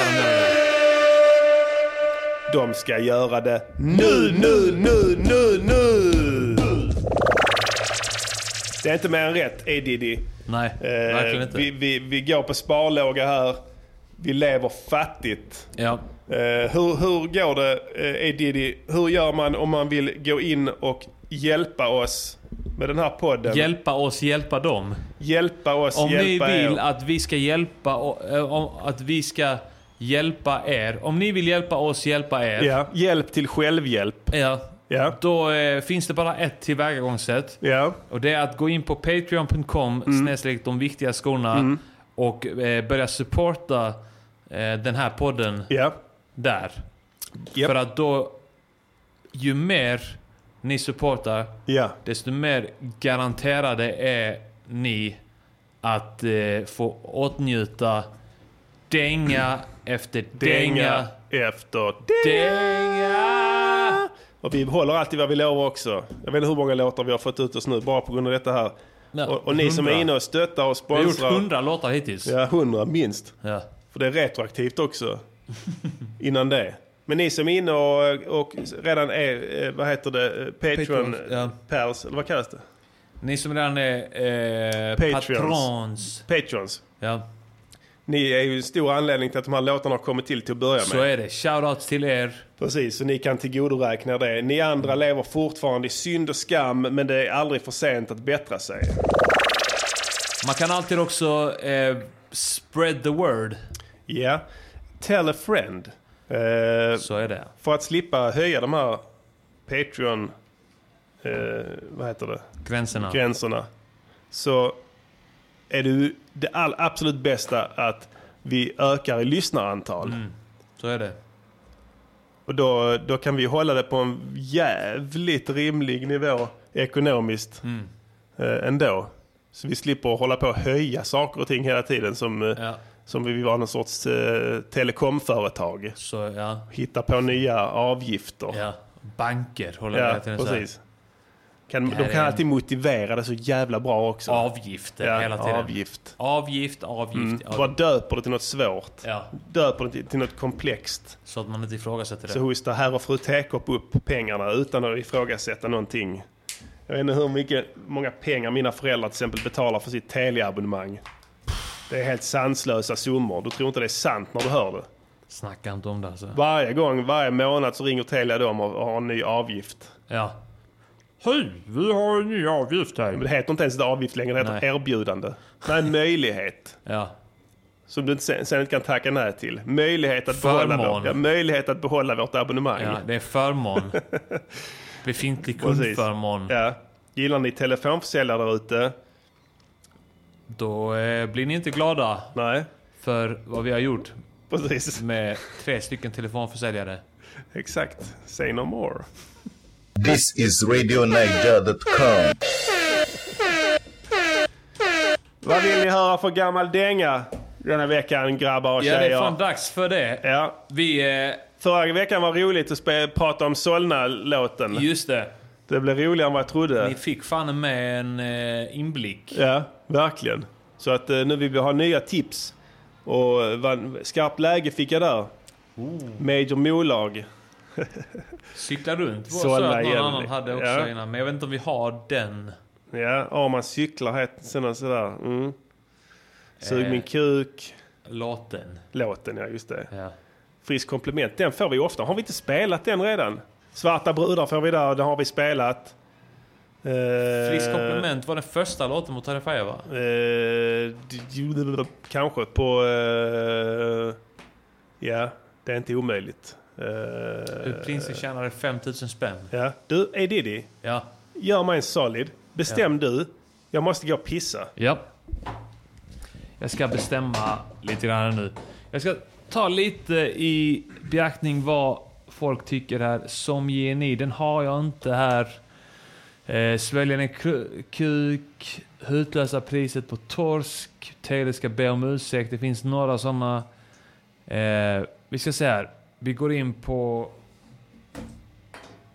De ska göra det nu, nu, nu, nu, nu! Det är inte mer än rätt, E. Diddy. Eh,
Nej, verkligen inte.
Vi, vi, vi går på sparlåga här. Vi lever fattigt.
Ja.
Eh, hur, hur går det, eh, E. Diddy? Hur gör man om man vill gå in och hjälpa oss med den här podden?
Hjälpa oss, hjälpa dem.
Hjälpa oss,
Om ni
hjälpa
vill
er.
att vi ska hjälpa o- eh, om, att vi ska hjälpa er. Om ni vill hjälpa oss, hjälpa er.
Ja, hjälp till självhjälp.
Ja. Då eh, finns det bara ett tillvägagångssätt. Och det är att gå in på patreon.com snedstreck de viktiga skorna
Mm.
och eh, börja supporta eh, den här podden där. För att då, ju mer ni supportar, desto mer garanterade är ni att eh, få åtnjuta dänga efter dänga.
Dänga efter dänga. Och vi håller alltid vad vi lovar också. Jag vet inte hur många låtar vi har fått ut oss nu bara på grund av detta här. och, och ni som är
hundra.
inne och stöttar och
Vi har gjort
sponsrar.
hundra låtar hittills.
Ja, hundra minst.
Ja.
För det är retroaktivt
[LAUGHS]
också. Innan det. Men ni som är inne och, och redan är, eh, vad heter det, eh, Patreon,
Patreons, ja.
pers, eller vad kallas det?
Ni som redan är eh, patrons.
Patrons.
Ja.
Ni är ju en stor anledning till att de här låtarna har kommit till till att börja med.
Så är det. Shoutouts till er.
Precis, så ni kan tillgodoräkna er det. Ni andra lever fortfarande i synd och skam, men det är aldrig för sent att bättra sig.
Man kan alltid också eh, spread the word.
Ja, tell a friend. så
är det.
För att slippa höja de här Patreon... Eh, vad heter det?
Gränserna.
Gränserna. Så är det ju det all, absolut bästa att vi ökar i lyssnarantal.
Mm, så är det.
Och då, då kan vi hålla det på en jävligt rimlig nivå ekonomiskt
Mm.
eh, ändå. Så vi slipper hålla på och höja saker och ting hela tiden som, eh, som vi vill vara någon sorts eh, telekomföretag.
Så, ja.
Hitta på nya avgifter.
Ja. Banker håller
Ja,
hela tiden så här.
precis. Kan,
Det här
de kan
är en-
alltid motivera det så jävla bra också.
Avgifter
ja,
hela tiden.
Avgift.
Avgift, avgift,
Mm.
avgift.
Bara döper det till något svårt.
Ja.
Döper det till, till något komplext.
Så att man inte ifrågasätter det.
Så hostar herr och fru Tekopp upp pengarna utan att ifrågasätta någonting. Jag vet inte hur mycket, många pengar mina föräldrar till exempel betalar för sitt Telia-abonnemang. Det är helt sanslösa summor. Du tror inte det är sant när du hör det.
Snacka inte om det alltså.
Varje gång, varje månad så ringer Telia dem och och har en ny avgift.
Ja. Hej, vi har en ny avgift här.
Men det heter inte ens det avgift längre, det heter
Nej.
erbjudande. Nej, möjlighet.
Ja.
Som du inte sen, sen inte kan tacka nej till. Möjlighet att, behålla,
Förmån.
vår, ja, möjlighet att behålla vårt abonnemang.
Ja, det är förmån. Befintlig
Precis.
kundförmån.
Ja. Gillar ni telefonförsäljare där ute?
Då eh, blir ni inte glada.
Nej.
För vad vi har gjort.
Precis.
Med tre stycken telefonförsäljare.
Exakt. Say no more.
This is RadioNiger.com.
Vad vill ni höra för gammal dänga denna veckan grabbar och
Ja,
tjejer?
det är fan dags för det.
Ja.
Vi... Eh...
Förra veckan var roligt att spe- prata om Solna-låten.
Just det.
Det blev roligare än vad jag trodde.
Ni fick fan med en eh, inblick.
Ja, verkligen. Så att eh, nu vill vi ha nya tips. Och eh, vad- skarpt läge fick jag där. Major Molag.
Cykla runt. var
Sålla
så att någon
igen.
annan hade också
Ja.
innan. Men jag vet inte om vi har den.
Ja, om man cyklar heter sen och sådär. Mm. Sug
Eh,
min kuk.
Låten.
Låten, ja just det.
Ja.
Frisk komplement. Den får vi ofta. Har vi inte spelat den redan? Svarta brudar får vi där. Den har vi spelat. Eh,
Frisk komplement var den första låten mot Tarja Faye va?
Eh, d- d- d- d- kanske på... Eh, Ja, det är inte omöjligt. Eh,
Hur prinsen Typ tjänade 5000 spänn.
Ja. Du, A Diddy.
Ja.
Gör mig en solid. Bestäm du. Jag måste gå och pissa.
Ja. Jag ska bestämma lite grann nu. Jag ska ta lite i beaktning vad folk tycker här. Som geni, den har jag inte här. Eh, sväljer en kru- kuk, hutlösa priset på torsk, Tele ska be om ursäkt. Det finns några sådana. Eh, vi ska se här. Vi går in på...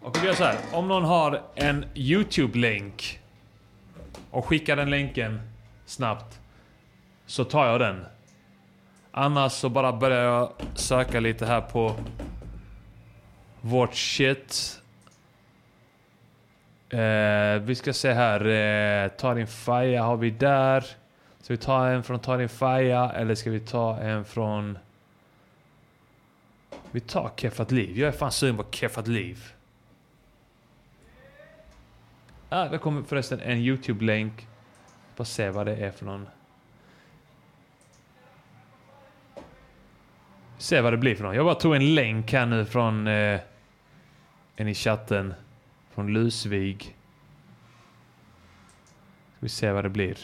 Och vi gör så här. Om någon har en YouTube-länk och skickar den länken snabbt så tar jag den. Annars så bara börjar jag söka lite här på vårt shit. Eh, vi ska se här. Eh, ta din faja har vi där. Ska vi ta en från ta din faja eller ska vi ta en från... Vi tar Keffat liv. Jag är fan sugen på Keffat liv. Ah, där kommer förresten en YouTube-länk. Bara se vad det är för någon. Se vad det blir för någon. Jag bara tog en länk här nu från eh, en i chatten. Från Lusvig. Ska vi se vad det blir.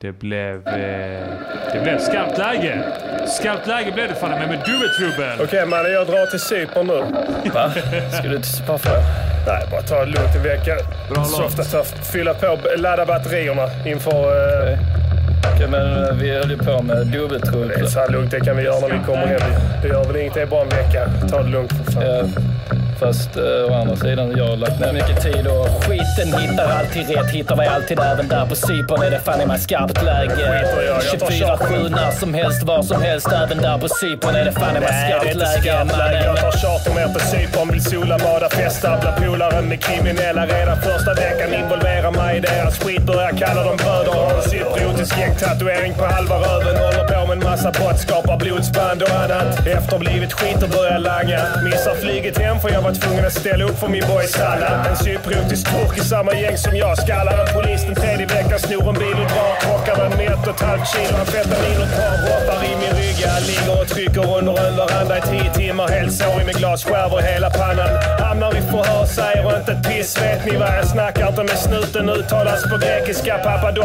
Det blev... Eh, det blev skarpt läge! Skarpt läge blev det fan men med dubbeltrubbel!
Okej mannen, jag drar till Cypern nu. Va? Ska du till Cypern för? Nej, bara ta det lugnt i veckan.
Bra
Softa stuff. Fylla på, ladda batterierna inför... eh,
Okej, men eh, vi höll ju på med dubbeltrubbel.
Det är så här lugnt, det kan vi göra när vi kommer hem. Det gör väl inget, det är bara en vecka. Ta det lugnt för fan.
Fast eh, å andra sidan, jag har lagt ner mycket tid och...
Skiten hittar alltid rätt, hittar mig alltid även där på Cypern är det fan i mig skarpt läge. 24-7 när som helst, var som helst, även där på Cypern är det fan i mig
Nej, det är
skarpt
inte
läge.
skarpt läge. Jag tar charter med på Cypern. Vill sola, bada, festa, bla polare med kriminella. Redan första veckan involverar mig i deras skit. Börjar kalla dem bröder. Har en cypriotisk gängtatuering på halva röven. Håller på med en massa brott, skapar blodsband och annat. Efter blivit skit och börjar langa. Missar flyget hem för jag var tvungen att ställa upp för min boy Sanna. En cypriotisk turk i samma gäng som jag. Skallar en polis den tredje veckan, snor en bil och drar. Krockar den med ett och ett halvt kilo amfetamin och tar hoppar i min rygg. Jag ligger och trycker under en veranda i tio timmar. Helt sårig med glasskärvor i hela pannan. Hamnar i förhör, säger inte ett piss. Vet ni vad jag snackar inte med snuten. Uttalas på grekiska.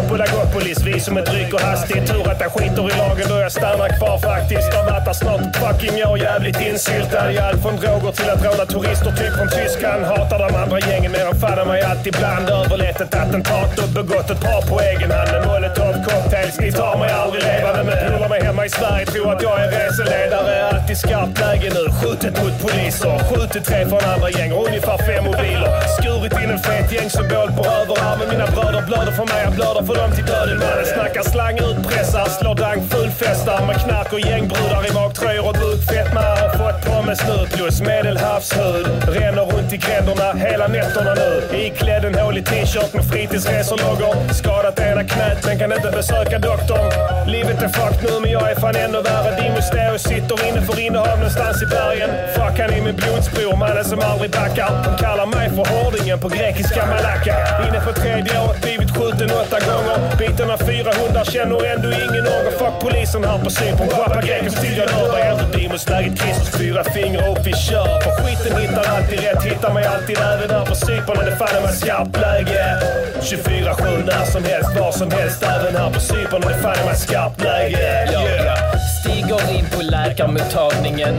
Papadopoulos, vi som ett rycker hastigt. Tur att jag skiter i lagen då jag stannar kvar faktiskt. Har varit där snart ett fucking år, jävligt insyltad i allt från droger till att råna turister typ från Tyskland. Hatar de andra gängen men de fannar mig alltid ibland. Överlett ett attentat och begått ett par på egen hand. En molotov cocktails, ni tar mig aldrig levande men polar mig hemma i Sverige. Tror att jag är reseledare. Alltid skarpt läge nu. Skjutit mot poliser. Skjutit tre från andra gäng. Ungefär fem mobiler. Skurit in en fet gängsymbol på överarmen. Mina bröder blöder för mig. Jag blöder för dem till döden. Mannen snackar slang, utpressar, slår dank, fullfestar med knark och gängbrudar i magtröjor och bukfetma. Har fått på mig snut plus medelhavshud. Ränner runt i gränderna hela nätterna nu. Iklädd en hålig t-shirt med fritidsreselogger. Skadat ena knät men kan inte besöka doktorn. Livet är fucked nu men jag är fan ännu värre. Dimmusdeo sitter inne för innehav någonstans i bergen. Fuck han är min blodsbror, mannen som aldrig backar. De kallar mig för hårdingen på grekiska malacka. Inne på tredje året, blivit skjuten åtta gånger. Biten av fyra hundar, känner ändå ingen ånger. Fuck polisen här på Cypern. Pappa greken till jag dör. Vad händer Dimus? Läget Kristus, fyra fingrar upp, vi kör. För skiten hittar alltid rätt, hittar mig alltid även där på Cypern. är Det fan är man skarpt läge. 24-7 när som helst, var som helst. Även här på Cypern är det fan är man skarpt läge. Yeah.
Stiger in på läkarmottagningen.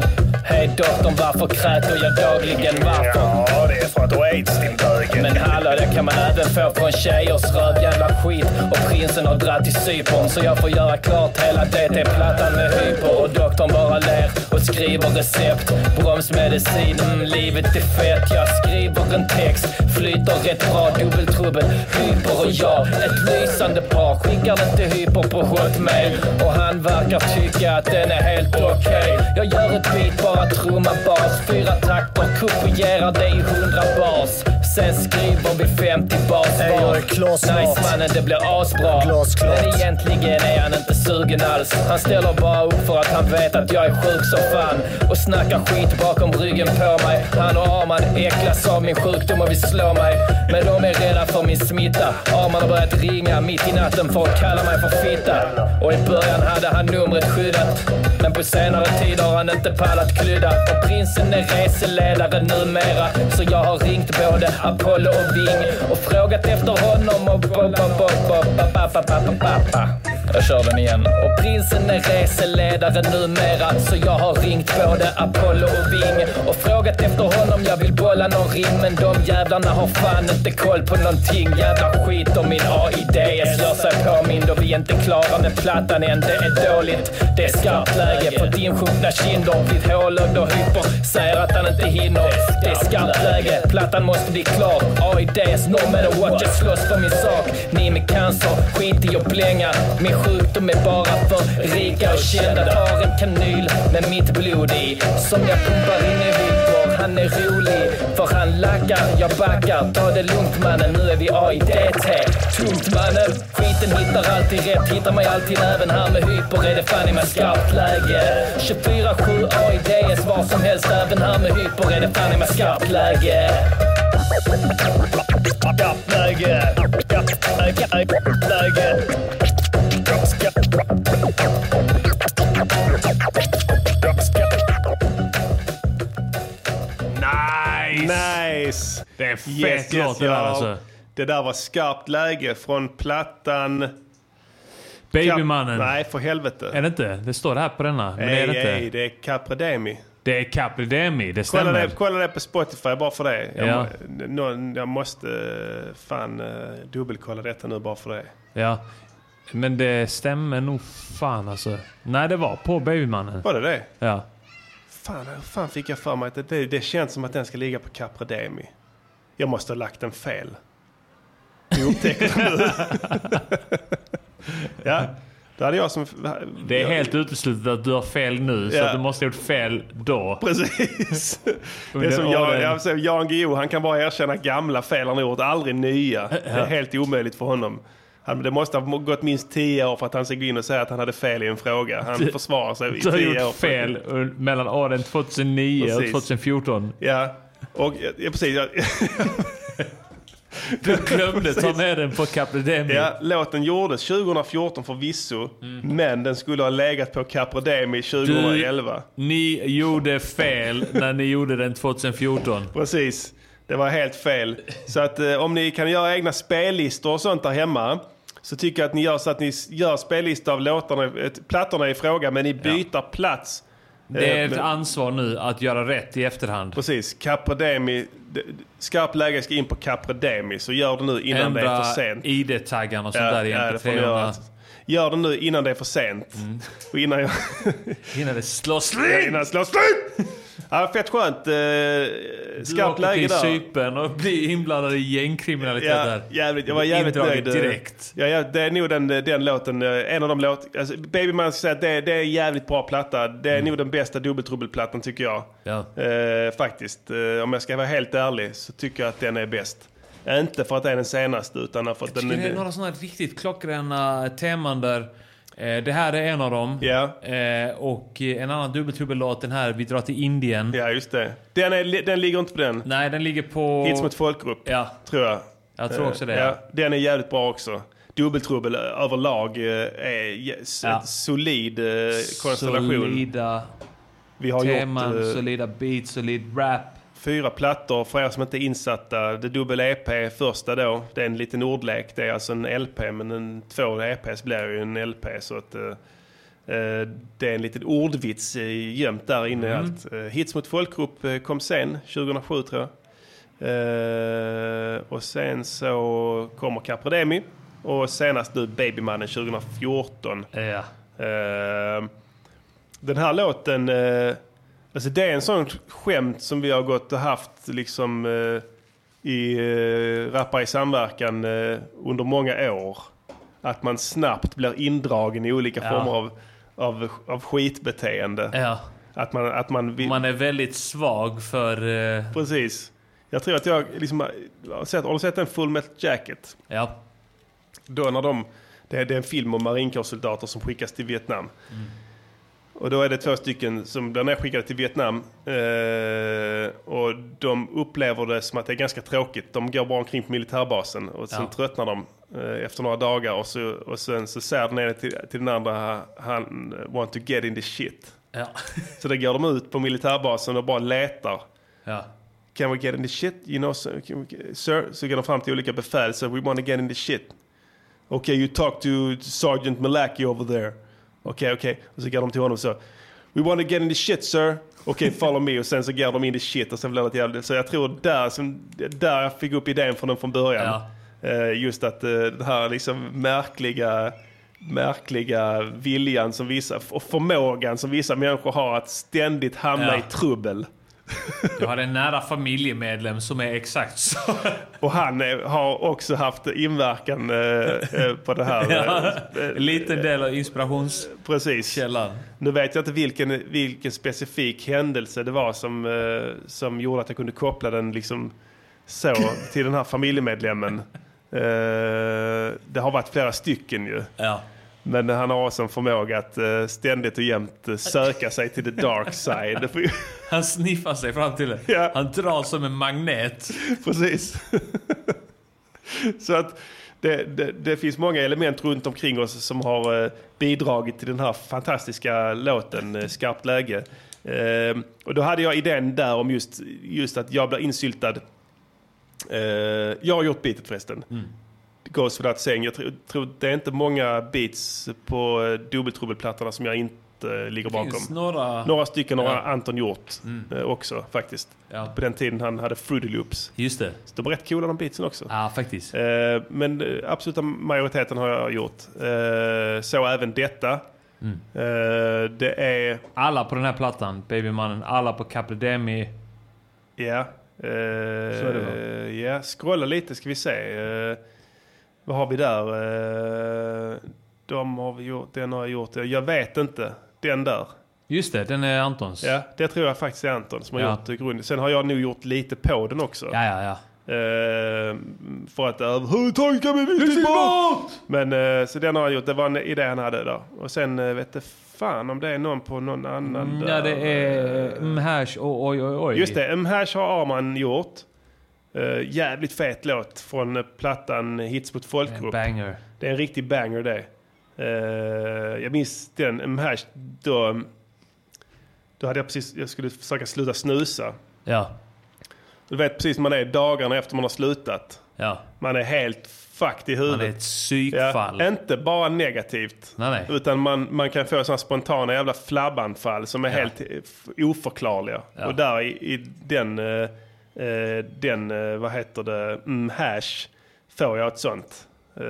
Hej doktorn, varför kräker jag dagligen? Varför?
Ja, det är för att du har aids din bög.
Men hallå, det kan man även få från tjejers rövjävla skit. Och prinsen har dratt till Cypern så jag får göra klart hela DT-plattan med hyper. Och doktorn bara ler och skriver recept. Bromsmedicin, mm, livet är fett. Jag skriver en text, flyter rätt bra, dubbeltrubbel. Hyper och jag, ett lysande par. Skickar den till hyper på hotmail. Och han verkar tycka att den är helt okej. Jag gör ett beat, bara trumma bas. Fyra takter, kupierar det i hundra bars. Sen skriver vi 50 basvar. Nice mannen, det blir asbra. Men egentligen är han inte sugen alls. Han ställer bara upp för att han vet att jag är sjuk som fan. Och snackar skit bakom ryggen på mig. Han och Arman äcklas av min sjukdom och vill slå mig. Men de är rädda för min smitta. Arman har börjat ringa mitt i natten för att kalla mig för fitta. Och i början hade han numret skyddat. Men på senare tid har han inte pallat klydda. Och prinsen är reseledare numera. Så jag har ringt både Apollo och Ving och frågat efter honom och ba, ba, ba, ba, ba, ba, ba, ba, ba, ba. Jag kör den igen. Och prinsen är reseledare numera så jag har ringt både Apollo och Ving och frågat efter honom. Jag vill bolla någon ring men de jävlarna har fan inte koll på någonting. Jävla skit om min AID. Jag slår sig påmind och vi är inte klara med plattan än. Det är dåligt. Det är skarpt läge för insjunkna kinder. Blir hålögd och hyper. Säger att han inte hinner. Det är skarpt läge. Plattan måste bli klar. AIDs no matter what. Jag slåss för min sak. Ni med cancer, skit i att blänga. Min sjukdom är bara för rika och kända. Har en kanyl med mitt blod i. Som jag pumpar in i hyllor. Han är rolig, för han lackar. Jag backar. Ta det lugnt mannen, nu är vi AIDT. Tungt mannen. Skiten hittar alltid rätt. Hittar mig alltid även här med hyper. Är det fan i mig skarpt läge. 24-7 AIDS var som helst. Även här med hyper. Är det fan i mig skarpt läge. Skarpt läge. Skarpt läge.
Nice! Nice!
Det är en fet låt det där alltså.
Det där var skarpt läge från plattan...
Babymannen.
Nej, för helvete.
Är det inte? Det står det här på denna. Men det
Nej,
är det inte.
nej, det är Capredemi.
Det är Capridemi, det
Kolla
stämmer.
det, kolla det på Spotify bara för det. Jag,
Ja.
någon, jag måste eh, fan eh, dubbelkolla detta nu bara för det.
Ja. Men det stämmer nog fan alltså. Nej, det var på Babymannen.
Var det det?
Ja.
Fan, hur fan fick jag för mig att det- det, det känns som att den ska ligga på Capredemi. Jag måste ha lagt den fel. Vi upptäcker det nu.
[LAUGHS]
ja, det hade jag som...
Det är helt uteslutet att du har fel nu, så
Ja.
att du måste ha gjort fel då.
[LAUGHS] Precis. Det är
Under
som Jan,
åren.
jag säger, Jan Guillou, han kan bara erkänna gamla fel han har gjort, aldrig nya. Det
Ja.
är helt omöjligt för honom. Han, det måste ha gått minst tio år för att han ska gå in och säga att han hade fel i en fråga.
[LAUGHS]
Han
Du-
försvarar sig i
Du har
tio år.
gjort fel un- mellan åren 2009 och
Precis. [LAUGHS]
2014.
Ja, och, ja precis. Jag,
Du glömde ta med den på Capridemi.
ja, låten gjordes 2014 förvisso,
Mm.
men den skulle ha legat på Caprodemi 2011.
Ni gjorde fel när ni gjorde den 2014.
Precis. Det var helt fel. Så att eh, om ni kan göra egna spellistor och sånt där hemma så tycker jag att ni gör så att ni s- gör spellistor av låtarna, eh, plattorna i fråga men ni byter plats.
Det är
Eh,
ett
men-
ansvar nu att göra rätt i efterhand.
Precis. Caprodemi. d- d- Skarpt läge ska in på Caprodemi så gör det nu innan det är
Ändra
för sent.
ID-taggarna och sånt där i
det får ni göra.
MP3.
Gör det nu innan det är för sent.
Mm.
Och innan jag...
Innan det slår slut!
Ja, innan det slår slut! [LAUGHS] Ja, fett skönt. Eh, skarpt läge
där.
där.
Cypern och bli inblandad i gängkriminalitet
Ja,
där.
jävligt, jag var jävligt
Indraget
nöjd. eh,
direkt.
Ja, ja, det är nog den, den låten, eh, en av de låt, alltså, Baby Man ska säga att det, det är en jävligt bra platta. Det är nog den bästa dubbeltrubbelplattan tycker jag.
Mm. Ja.
Eh, faktiskt, eh, om jag ska vara helt ärlig så tycker jag att den är bäst. Inte för att det är den senaste utan för att den
Tycker det är några sådana riktigt klockrena teman där. Eh, det här är en av dem. Eh, och eh, en annan dubbeltrubbel-låt, den här Vi drar till Indien.
Ja, just det. Den, är, den ligger inte på den.
Nej, den ligger på...
Hits mot folkgrupp,
ja.
tror jag.
Jag tror också det,
Eh,
ja.
den är jävligt bra också. Dubbeltrubbel eh, överlag eh, är jä- s-
Ja.
en solid eh, konstellation.
Solida
Vi har
teman,
gjort, eh,
solida beats, solid rap.
Fyra plattor för er som inte är insatta. Det dubbel EP första då. Det är en liten ordlek. Det är alltså en LP men en, två EPs blir ju en LP. Så att, eh, eh, det är en liten ordvits eh, gömt där inne. i
Mm.
Allt. Eh, Hits mot folkgrupp eh, kom sen, 2007 tror jag. Eh, och sen så kommer Caprodemi. Och senast nu Babymannen 2014. Eh, den här låten, eh, alltså det är en sån skämt som vi har gått och haft liksom eh, i eh, Rappar i samverkan eh, under många år. Att man snabbt blir indragen i olika
Ja. Eh.
former av, av, av skitbeteende.
Ja.
Att man, att man, vill,
Man är väldigt svag för... Eh,
Precis. Jag tror att jag liksom har har sett, har du sett en Full Metal Jacket?
Ja.
Då när de, det är, det är en film om marinkårssoldater som skickas till Vietnam.
Mm.
Och då är det två stycken som blir nedskickade till Vietnam. Eh, och de upplever det som att det är ganska tråkigt. De går bara omkring på militärbasen och sen
Ja.
tröttnar de eh, efter några dagar. Och, så, och sen så säger den ene till, till den andra, han want to get in the shit.
Ja.
Så då går de ut på militärbasen och bara letar.
Ja.
Can we get in the shit? You know, so, can we get, sir? Så går de fram till olika befäl. So we want to get in the shit. Okay, you talk to Sergeant Malaki over there. Okay, okay. Och så går de till honom så. We want to get in the shit, sir. Okay, follow me. Och sen så går de in i shit och sen blir det ett jävla... Så jag tror där, som, där jag fick upp idén från dem från början. Eh, just att eh, den här liksom märkliga, märkliga viljan som vissa, och förmågan som vissa människor har att ständigt hamna
Ja.
i trubbel.
Jag hade en nära familjemedlem som är exakt så. [LAUGHS]
Och han eh, har också haft inverkan eh, eh, på det
[LAUGHS]
här.
Ja,
liten
del av inspirationskällan.
Precis. Nu vet jag inte vilken, vilken specifik händelse det var som, eh, som gjorde att jag kunde koppla den liksom så till den här familjemedlemmen. Eh, det har varit flera stycken ju.
Ja.
Men han har också en förmåga att eh, ständigt och jämt eh, söka sig till the dark side. [LAUGHS]
Han sniffar sig fram till det. Han drar som en magnet.
Precis. Så att det, det, det finns många element runt omkring oss som har eh, bidragit till den här fantastiska låten eh, Skarpt läge. Eh, och då hade jag idén där om just, just att jag blir insyltad. Eh, jag har gjort beatet förresten.
Mm.
Goes without saying. Jag tror, tror det är inte många beats på eh, dubbeltrubbelplattorna som jag inte eh, ligger
Det
bakom.
finns några-
stycken har
Ja.
Anton gjort
Mm.
eh, också faktiskt.
Ja.
På den tiden han hade Fruity Loops.
Just det.
Så de är rätt coola de beatsen också.
Ja, faktiskt.
men eh, absoluta majoriteten har jag gjort. Eh, så även detta.
Mm.
Eh, det är...
Alla på den här plattan, Babymannen, alla på Capledemi.
Ja. Eh,
Så är det va?
eh, Ja, scrolla lite ska vi se. Eh, vad har vi där? Eh, de har vi gjort, den har jag gjort. Jag vet inte. Den där.
Just det, den är Antons.
Ja, det tror jag faktiskt är Anton som har
Ja.
gjort eh, grunden. Sen har jag nog gjort lite på den också.
Ja, ja, ja.
Eh, för att överhuvudtaget kan vi inte bort! Men eh, så den har jag gjort. Det var en idé han hade där. Och sen eh, vet det fan om det är någon på någon annan
Mm,
där.
ja, det är Mhash och oj, oj, oj.
Just det, Mhash har Arman gjort. Eh, jävligt fet låt från eh, plattan Hits mot folkgrupp.
banger.
Det är en riktig banger det. Eh, jag minns den Mhash då. Då hade jag precis, jag skulle försöka sluta snusa.
Ja.
Du vet precis man är dagarna efter man har slutat.
Ja.
Man är helt fucked i huvudet.
Man är ett psykfall.
Ja, inte bara negativt.
Nej, nej.
Utan man, man kan få sådana spontana jävla flabbanfall som är
Ja.
helt eh, f- oförklarliga.
Ja.
Och där i, i den, eh, eh, den eh, vad heter det, mm, hash får jag ett sånt. eh,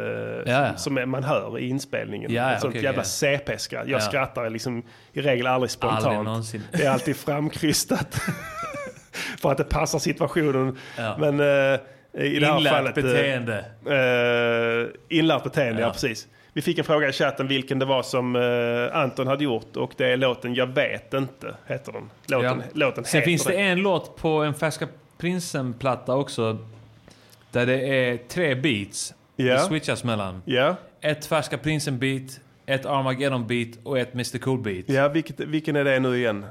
ja.
som- Som är- man hör i inspelningen.
Ja, ja,
ett sånt
okej,
jävla
okej.
CP-skratt. Jag
Ja.
skrattar liksom i regel aldrig spontant.
Aldrig någonsin.
Det är alltid
[LAUGHS]
framkrystat. [LAUGHS] För att det passar situationen.
Ja.
Men eh, i det här
Inlärt
fallet... eh,
beteende.
Eh, inlärt beteende, ja.
Ja.
precis. Vi fick en fråga i chatten vilken det var som eh, Anton hade gjort och det är låten Jag vet inte, heter den. Låten,
Ja.
låten
Sen
heter
finns det en låt på en Färska Prinsen-platta också. Där det är tre beats.
Ja.
Det switchas mellan.
Ja.
Ett Färska Prinsen-beat, ett Armageddon-beat och ett Mr Cool-beat.
Ja, vilket, vilken är det nu igen?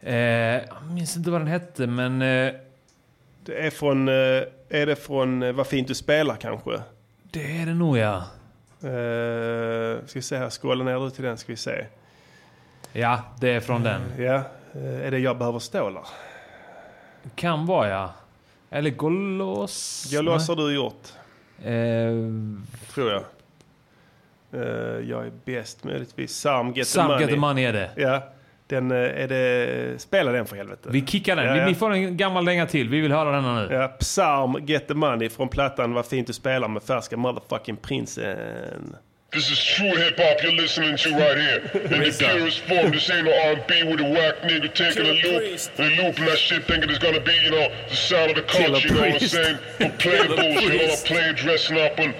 Eh, jag minns inte vad den hette, men... Eh,
det är från... Eh, är det från eh, Vad fint du spelar kanske?
Det är det nog ja.
Eh, ska vi se här, skrolla ner ut till den ska vi se.
Ja, det är från den.
Ja, eh, är det Jag behöver stålar?
Kan vara ja. Eller Eh, gå loss.
Jag låser du gjort. Tror jag. Eh, jag är bäst möjligtvis. Sam Get
Some
the Money.
Get the Money är det.
Ja. Den, eh, är det. Spela den för helvete.
Vi kickar den.
Ja,
Vi-
ja.
Ni får en gammal länga till. Vi vill höra denna nu.
Ja, Psalm Get the Money från plattan Vad fint du spelar med färska motherfucking prinsen.
This is true hip hop you're listening to right here.
[LAUGHS]
In the purest form, this ain't no R&B with a whack nigga taking a loop, and looping that shit thinking it's gonna be, you know, the sound of the
Killer
culture, you know what I'm
Priest. [LAUGHS]
saying? But playing
Killer
bullshit, all I
Priest.
playing dressing up and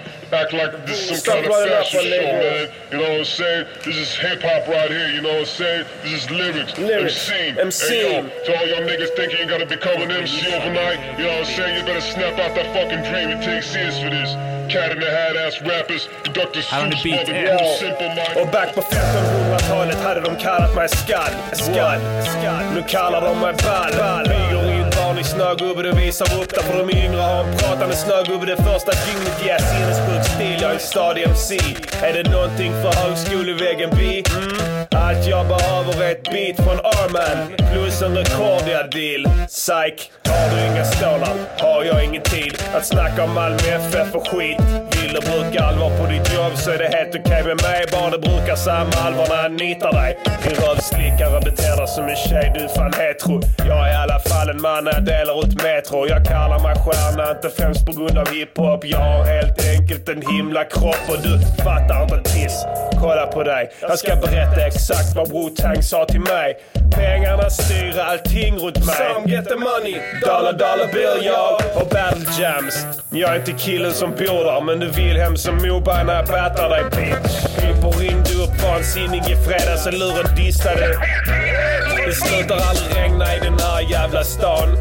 act like this is some
Stop
kind of
running up
fashion
on
show,
niggas.
man. You know what I'm saying? This is hip hop right here, you know what I'm saying? This is lyrics,
Lyrics,
MC.
MC.
Hey, yo, to all y'all niggas thinking you gotta become an MC overnight, you know what I'm saying? You better snap out that fucking dream and take serious for this. Cat in the hat ass rappers, Dr. Seuss, mother,
Ja.
simple mind.
Och back på 1500-talet hade de kallat mig skall, skall, skall. Nu kallar de mig ball, ball. Myger i en vanlig snögubbe, det visar upp där för de yngre har en pratande snögubbe det första dygnet. Ja, sinnessjuk stil, jag är en stadig MC. Är det någonting för högskoleväggen bi? Att jag behöver ett beat från Arman plus en Recordia-deal. Psych, har du inga stålar har jag ingen tid att snacka om Malmö FF och skit. Vill du bruka allvar på ditt jobb så är det helt okej med mig. Bara du brukar samma allvar när jag nitar dig. Din rövslickare beter dig som en tjej, du är fan hetero. Jag är i alla fall en man när jag delar ut metro. Jag kallar mig stjärna, inte främst på grund av hiphop. Jag har helt enkelt en himla kropp och du fattar inte ett piss. Kolla på dig. Jag ska berätta exakt vad Wu-Tang sa till mig. Pengarna styr allting runt mig. Some get the money, dollar dollar bill jag. Och battle jams. Jag är inte killen som bor där, men du vill hem som Moberg när jag battar dig bitch. Pippo ringde upp vansinnig i fredags och luren dissade. Det slutar aldrig regna i den här jävla stan.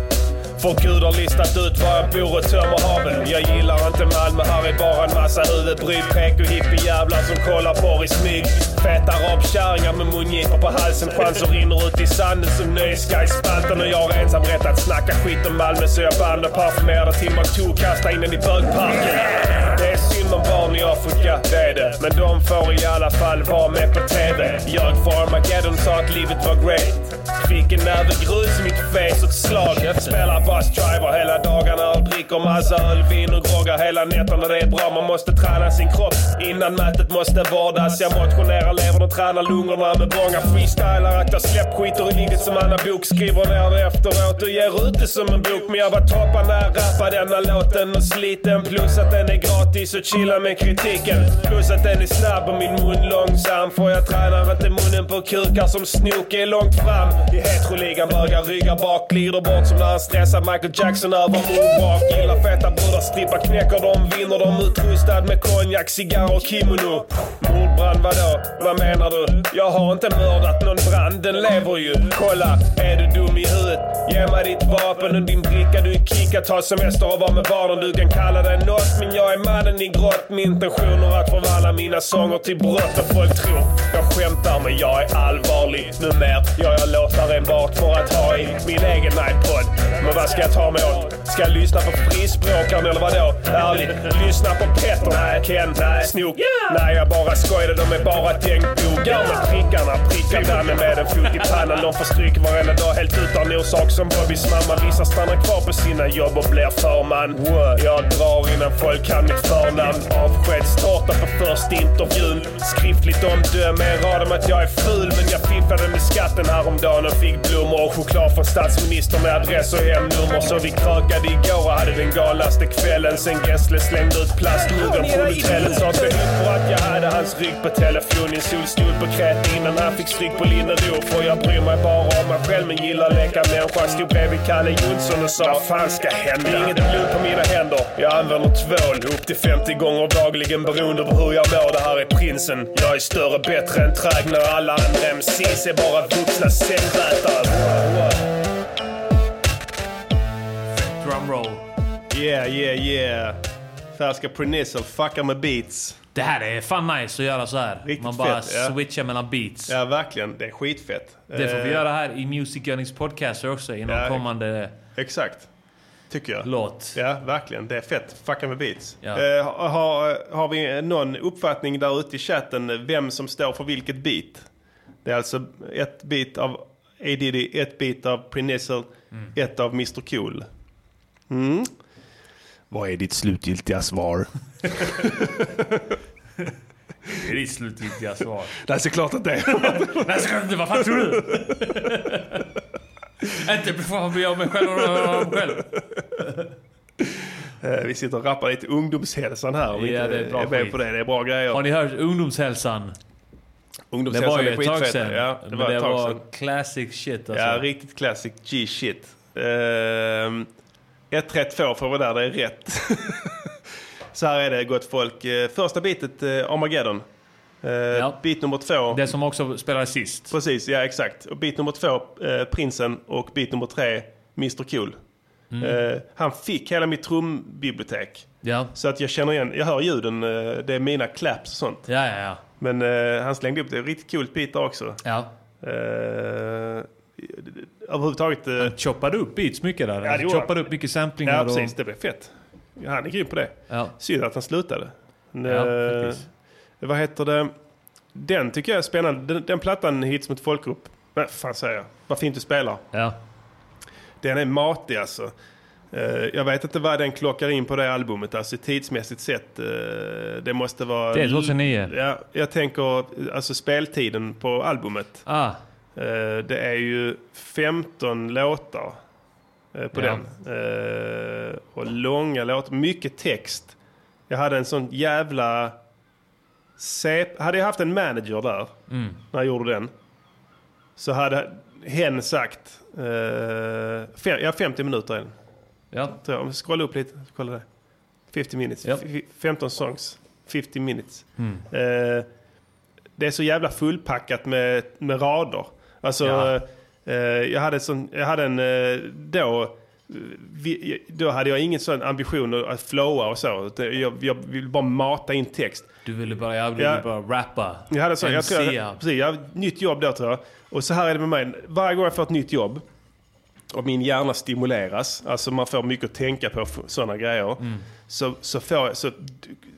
För Gud har listat ut var jag bor och tömmer haven. Jag gillar inte Malmö, här är bara en massa huvudbry. PK hippiejävlar som kollar porr i smyg. Feta arabkärringar med mungipor på halsen. Chanser rinner ut i sanden som nöjesguidespalten. Och jag har ensam rätt att snacka skit om Malmö så jag band och parfymerade Timbuktu och kastade in den i bögparken. Det är synd om barn i Afrika, det är det. Men de får i alla fall vara med på TV. Jag för Armageddon sa att livet var great. Fick en näve grus i mitt face och ett slag. Spelar bassdriver hela dagarna och dricker massa öl, vin och groggar hela nätterna. Det är bra, man måste träna sin kropp. Innan mötet måste vårdas. Jag motionerar levern och tränar lungorna med bånga. Freestylar, aktar släppskit och ligger som Anna Bok Skriver ner det efteråt och ger ut det som en bok. Men jag var toppen när jag rappade denna låten och sliten. Plus att den är gratis och chilla med kritiken. Plus att den är snabb och min mun långsam. För jag tränar inte munnen på kukar som snok är långt fram. I heteroligan bögar ryggar bak. Glider bort som när han stressar Michael Jackson över moonwalk. Gillar feta brudar, strippar, knäcker dem, vinner dem. Utrustad med konjak, cigarr och kimono. Mordbrand vadå? Vad menar du? Jag har inte mördat någon brand, den lever ju. Kolla, är du dum i huvudet? Ge mig ditt vapen och din bricka du är kickad. Ta semester och var med barnen. Du kan kalla dig något, men jag är mannen i grått. Min intention är att förvandla mina sånger till brott och folk tror. Jag skämtar, men jag är allvarlig numer. Jag gör låtar enbart för att ha i min egen iPod. Men vad ska jag ta mig åt? Ska jag lyssna på frispråkaren eller vadå? Ärligt, lyssna på Petter? Nej, Ken? Nej, Snook? Nej, jag bara skojade. De är bara tänkbogar. Men prickarna prickar grannen med en fot i pannan. De får stryk varenda dag helt utan orsak som Bobbys mamma. Vissa stannar kvar på sina jobb och blir förman. Wow. Jag drar innan folk kan mitt förnamn. Avskedstårta på första intervjun. Skriftligt omdöme, en rad om att jag är ful. Men jag fiffade med skatten häromdagen och fick blommor och choklad från statsministern med adress och hemnummer. Så vi krökade igår och hade den galnaste kvällen sen Gessle slängde ut plastmuggen från hotellet. Sa till för att jag hade hans rygg på telefon. Min sol stod på krät innan han fick stryk på Linnero. För jag bryr mig bara om mig själv men gillar leka människa. Stod bredvid Kalle Jonsson och sa Vad fan ska hända? Inget blod på mina händer. Jag använder tvål upp till 50 gånger dagligen beroende på hur jag mår. Det här är prinsen. Jag är större, bättre än träg när alla andra MCs är bara vuxna sängrätare. Wow, wow.
Drumroll. Yeah, yeah, yeah. Färska Prenizzle fuckar med beats.
Det här är fan nice att göra så här. Man bara
fett, ja.
switchar mellan beats.
Ja, verkligen. Det är skitfett.
Det får vi
Eh,
göra här i Music Earnings Podcaster också i någon
Ja,
kommande...
Exakt. Tycker jag.
Låt.
Ja, verkligen. Det är fett. Fucka med beats.
Ja.
Eh, har, har vi någon uppfattning där ute i chatten vem som står för vilket beat? Det är alltså ett beat av A. Diddy, ett beat av Prenizzle,
Mm.
ett av Mr Cool. Mm. Vad är ditt slutgiltiga svar?
Det är ditt slutgiltiga svar.
Nej, såklart att [LAUGHS] det är.
[LAUGHS] Nej, såklart inte. Vad fan
[LAUGHS]
tror du? inte fan bryr jag mig själv om vad jag har om själv.
Eh, Vi sitter och rappar lite ungdomshälsan här. Om vi
Ja,
inte
det är bra
är med
skit.
på det. Det är bra grejer.
Har ni hört ungdomshälsan?
Ungdomshälsan
det var ju
är
ett tag
skitfett.
sedan.
Ja, det
men
var ett
det
tag
var
sedan.
classic shit alltså.
Ja, riktigt classic G-shit. Ehm, Ett rätt får för vad där det är rätt. [LAUGHS] Så här är det gott folk. Eh, Första bitet eh, Armageddon. Eh, Bit nummer två. Det
som också spelades sist.
Precis, ja exakt. Och bit nummer två eh, Prinsen och bit nummer tre Mr Cool.
Mm.
Eh, han fick hela mitt trumbibliotek.
Ja.
Så att jag känner igen, jag hör ljuden, eh, det är mina claps och sånt.
Ja, ja, ja.
Men eh, han slängde upp det, riktigt coolt bit där också.
Ja.
Eh, överhuvudtaget... Eh, han
choppade upp beats mycket där.
Ja, det
Han
gjorde
choppade
han.
upp mycket samplingar
Ja,
och-
precis. Det blev fett. Han är grym på det.
Ja.
Synd att han slutade. Men,
Ja,
eh,
faktiskt.
vad heter det? Den tycker jag är spännande. Den, den plattan hits mot folkgrupp. Vad fan säger jag? Vad fint du spelar.
Ja.
Den är matig alltså. Eh, jag vet inte vad den klockar in på det albumet. Alltså tidsmässigt sett. eh, det måste vara...
Det är 2009.
Ja, jag tänker alltså speltiden på albumet.
Ah,
Eh, det är ju 15 låtar eh, på
Ja.
den. Eh, och långa låtar, mycket text. Jag hade en sån jävla... sep- Hade jag haft en manager där,
Mm.
när jag gjorde den, så hade hen sagt... eh, fem, jag har 50 minuter än.
Ja.
Tror jag. Om vi scrollar upp lite, kolla det. 50 minutes. F- f- 15 songs, 50 minutes.
Mm.
Eh, det är så jävla fullpackat med, med rader. Alltså,
Ja.
eh, jag, hade sån, jag hade en eh, då... eh, Vi, då hade jag ingen sån ambition att- att flowa och så. Det- Jag, jag ville bara mata in text.
Du ville bara, jag ville
Ja.
bara rappa.
Jag hade så, jag tror
MCa.
jag, precis, jag hade ett nytt jobb då tror jag. Och så här är det med mig. Varje gång jag får ett nytt jobb och min hjärna stimuleras, alltså man får mycket att tänka på sådana grejer.
Mm.
Så, så, får jag, så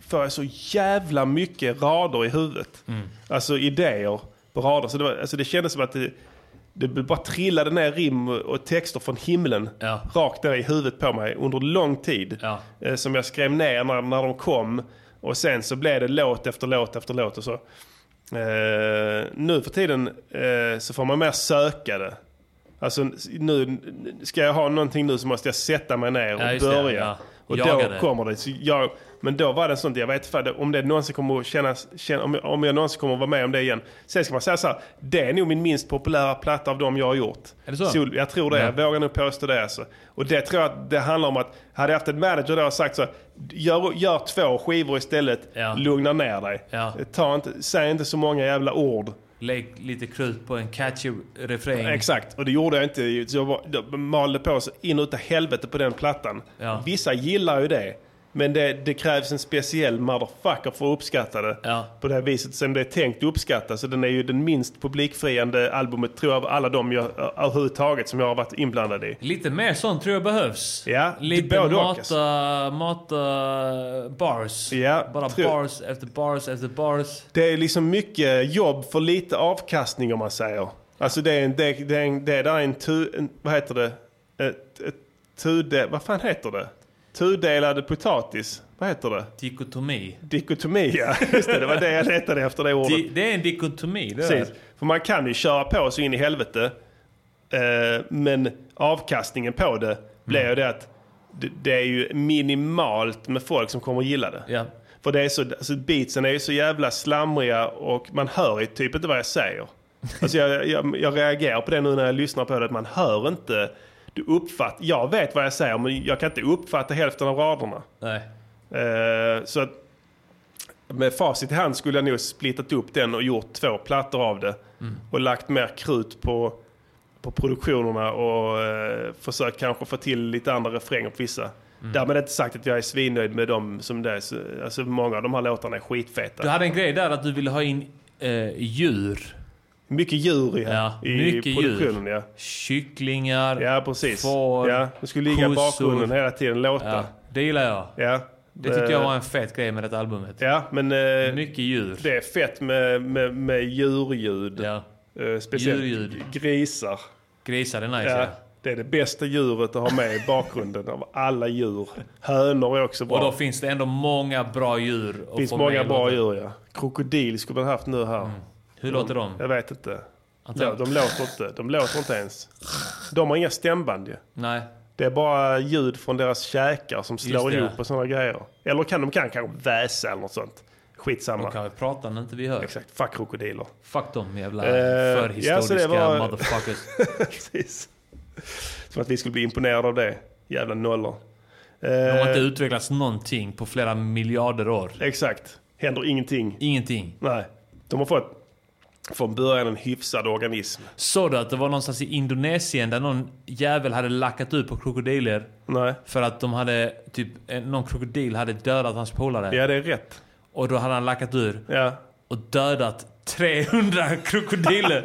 får jag så jävla mycket rader i huvudet.
Mm.
Alltså idéer på rader. Så det, var, alltså, det kändes som att det, det bara trillade ner rim och texter från himlen. Rakt ner i huvudet på mig under lång tid. Eh, Som jag skrev ner när, när de kom. Och sen så blev det låt efter låt efter låt och så. Eh, nu för tiden eh, så får man mer söka det. Alltså nu, ska jag ha någonting nu så måste jag sätta mig ner och
Ja, just det,
börja.
ja.
Och
Jaga
då
det.
kommer det. Så jag, men då var det sånt, jag vet inte om det någonsin kommer att kännas, känna, om, jag, om jag någonsin kommer att vara med om det igen. Sen ska man säga så här, det är nog min minst populära platta av dem jag har gjort.
Är det så?
Sol, jag tror det,
Ja.
jag vågar nog påstå det. Alltså. Och det tror jag att det handlar om att, hade jag haft en manager då och sagt så här, gör, gör två skivor istället, lugna ner dig. Ta inte, säg inte så många jävla ord.
Mm. Lägg lite krut på en catchy refräng.
Exakt, och det gjorde jag inte. Så jag var- jag malde på så in utav helvete på den plattan.
Ja.
Vissa gillar ju det. Men det, det krävs en speciell motherfucker för att uppskatta det på det här viset som det är tänkt att uppskatta. Så den är ju den minst publikfriande albumet tror jag av alla de jag, överhuvudtaget som jag har varit inblandad i.
Lite mer sånt tror jag behövs.
Ja,
Lite
både och,
mata, mata bars. Bara
tror-
bars efter bars efter bars.
Det är liksom mycket jobb för lite avkastning om man säger. Alltså det är en, det, det är en, det där är en, tu, en vad heter det? Ett, ett tude, vad fan heter det? Tudelad potatis. Vad heter det?
Dikotomi.
Dikotomi, ja. [LAUGHS] Just det, det var det jag letade efter det ordet.
Di- Det är en dikotomi. Det är.
Precis. För man kan ju köra på så in i helvete. Eh, Men avkastningen på det blir ju det att det- det är ju minimalt med folk som kommer att gilla det. För det är så, alltså beatsen är ju så jävla slamriga och man hör ju typ inte vad jag säger. Alltså jag, jag, jag reagerar på det nu när jag lyssnar på det, att man hör inte. Du uppfatt, jag vet vad jag säger men jag kan inte uppfatta hälften av raderna.
Nej.
Eh, så att med facit i hand skulle jag nog splittat upp den och gjort två plattor av det.
Mm.
Och lagt mer krut på, på produktionerna och eh, försökt kanske få till lite andra refränger på vissa.
Mm.
Därmed inte sagt att jag är svinnöjd med dem som det är. Så- Alltså många av de här låtarna är skitfeta.
Du hade en grej där att du ville ha in eh, djur.
Mycket djur
ja.
i produktionen, ja.
Kycklingar,
Ja, precis.
får,
Ja, det skulle ligga i
kossor.
bakgrunden hela tiden, låta.
Ja, det gillar jag.
Ja.
Det tyckte jag
Eh,
var en fet grej med detta albumet.
Ja, men... Eh,
Mycket djur.
Det är fett med, med, med djurljud.
Ja.
Eh, speciellt
Djurljud.
grisar.
Grisar är nice, ja.
Det är det bästa djuret att ha med i bakgrunden av alla djur. Hönor är också bra.
Och då finns det ändå många bra djur.
det
att
finns
få
många
med Mm. i
bra
låten.
djur ja. Krokodil skulle man haft nu här.
Hur låter de?
Jag vet inte.
Anton?
De, de låter inte. De låter inte ens. De har inga stämband ju.
Nej.
Det är bara ljud från deras käkar som slår
det.
ihop och sådana grejer. Eller kan de kan kanske väsa eller något sånt. Skitsamma.
De kan väl prata när inte vi hör.
Exakt. Fuck krokodiler. [LAUGHS]
Fuck de jävla
Eh, ja, så
förhistoriska
det var- [LAUGHS]
motherfuckers.
Precis. Som att vi skulle bli imponerade av det. Jävla nollor.
De har
Eh,
inte utvecklats någonting på flera miljarder år.
Exakt. Händer ingenting.
Ingenting.
Nej. De har fått från början en hyfsad organism.
Såg du att det var någonstans i Indonesien där någon jävel hade lackat ut på krokodiler?
Nej.
För att de hade, typ, en- någon krokodil hade dödat hans polare.
Ja, det är rätt.
Och då hade han lackat ur.
Ja.
Och dödat 300 krokodiler.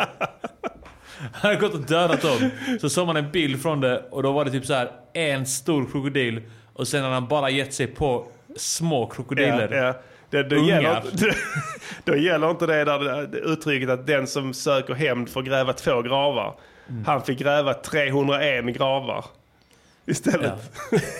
han hade gått och dödat dem. Så såg man en bild från det och då var det typ så här en stor krokodil. Och sen hade han bara gett sig på små krokodiler.
Ja, ja. Det, det
Ungar.
gäller, inte- [LAUGHS] då gäller inte det där det uttrycket att den som söker hämnd får gräva två gravar.
Mm.
Han fick gräva 301 gravar istället. [LAUGHS]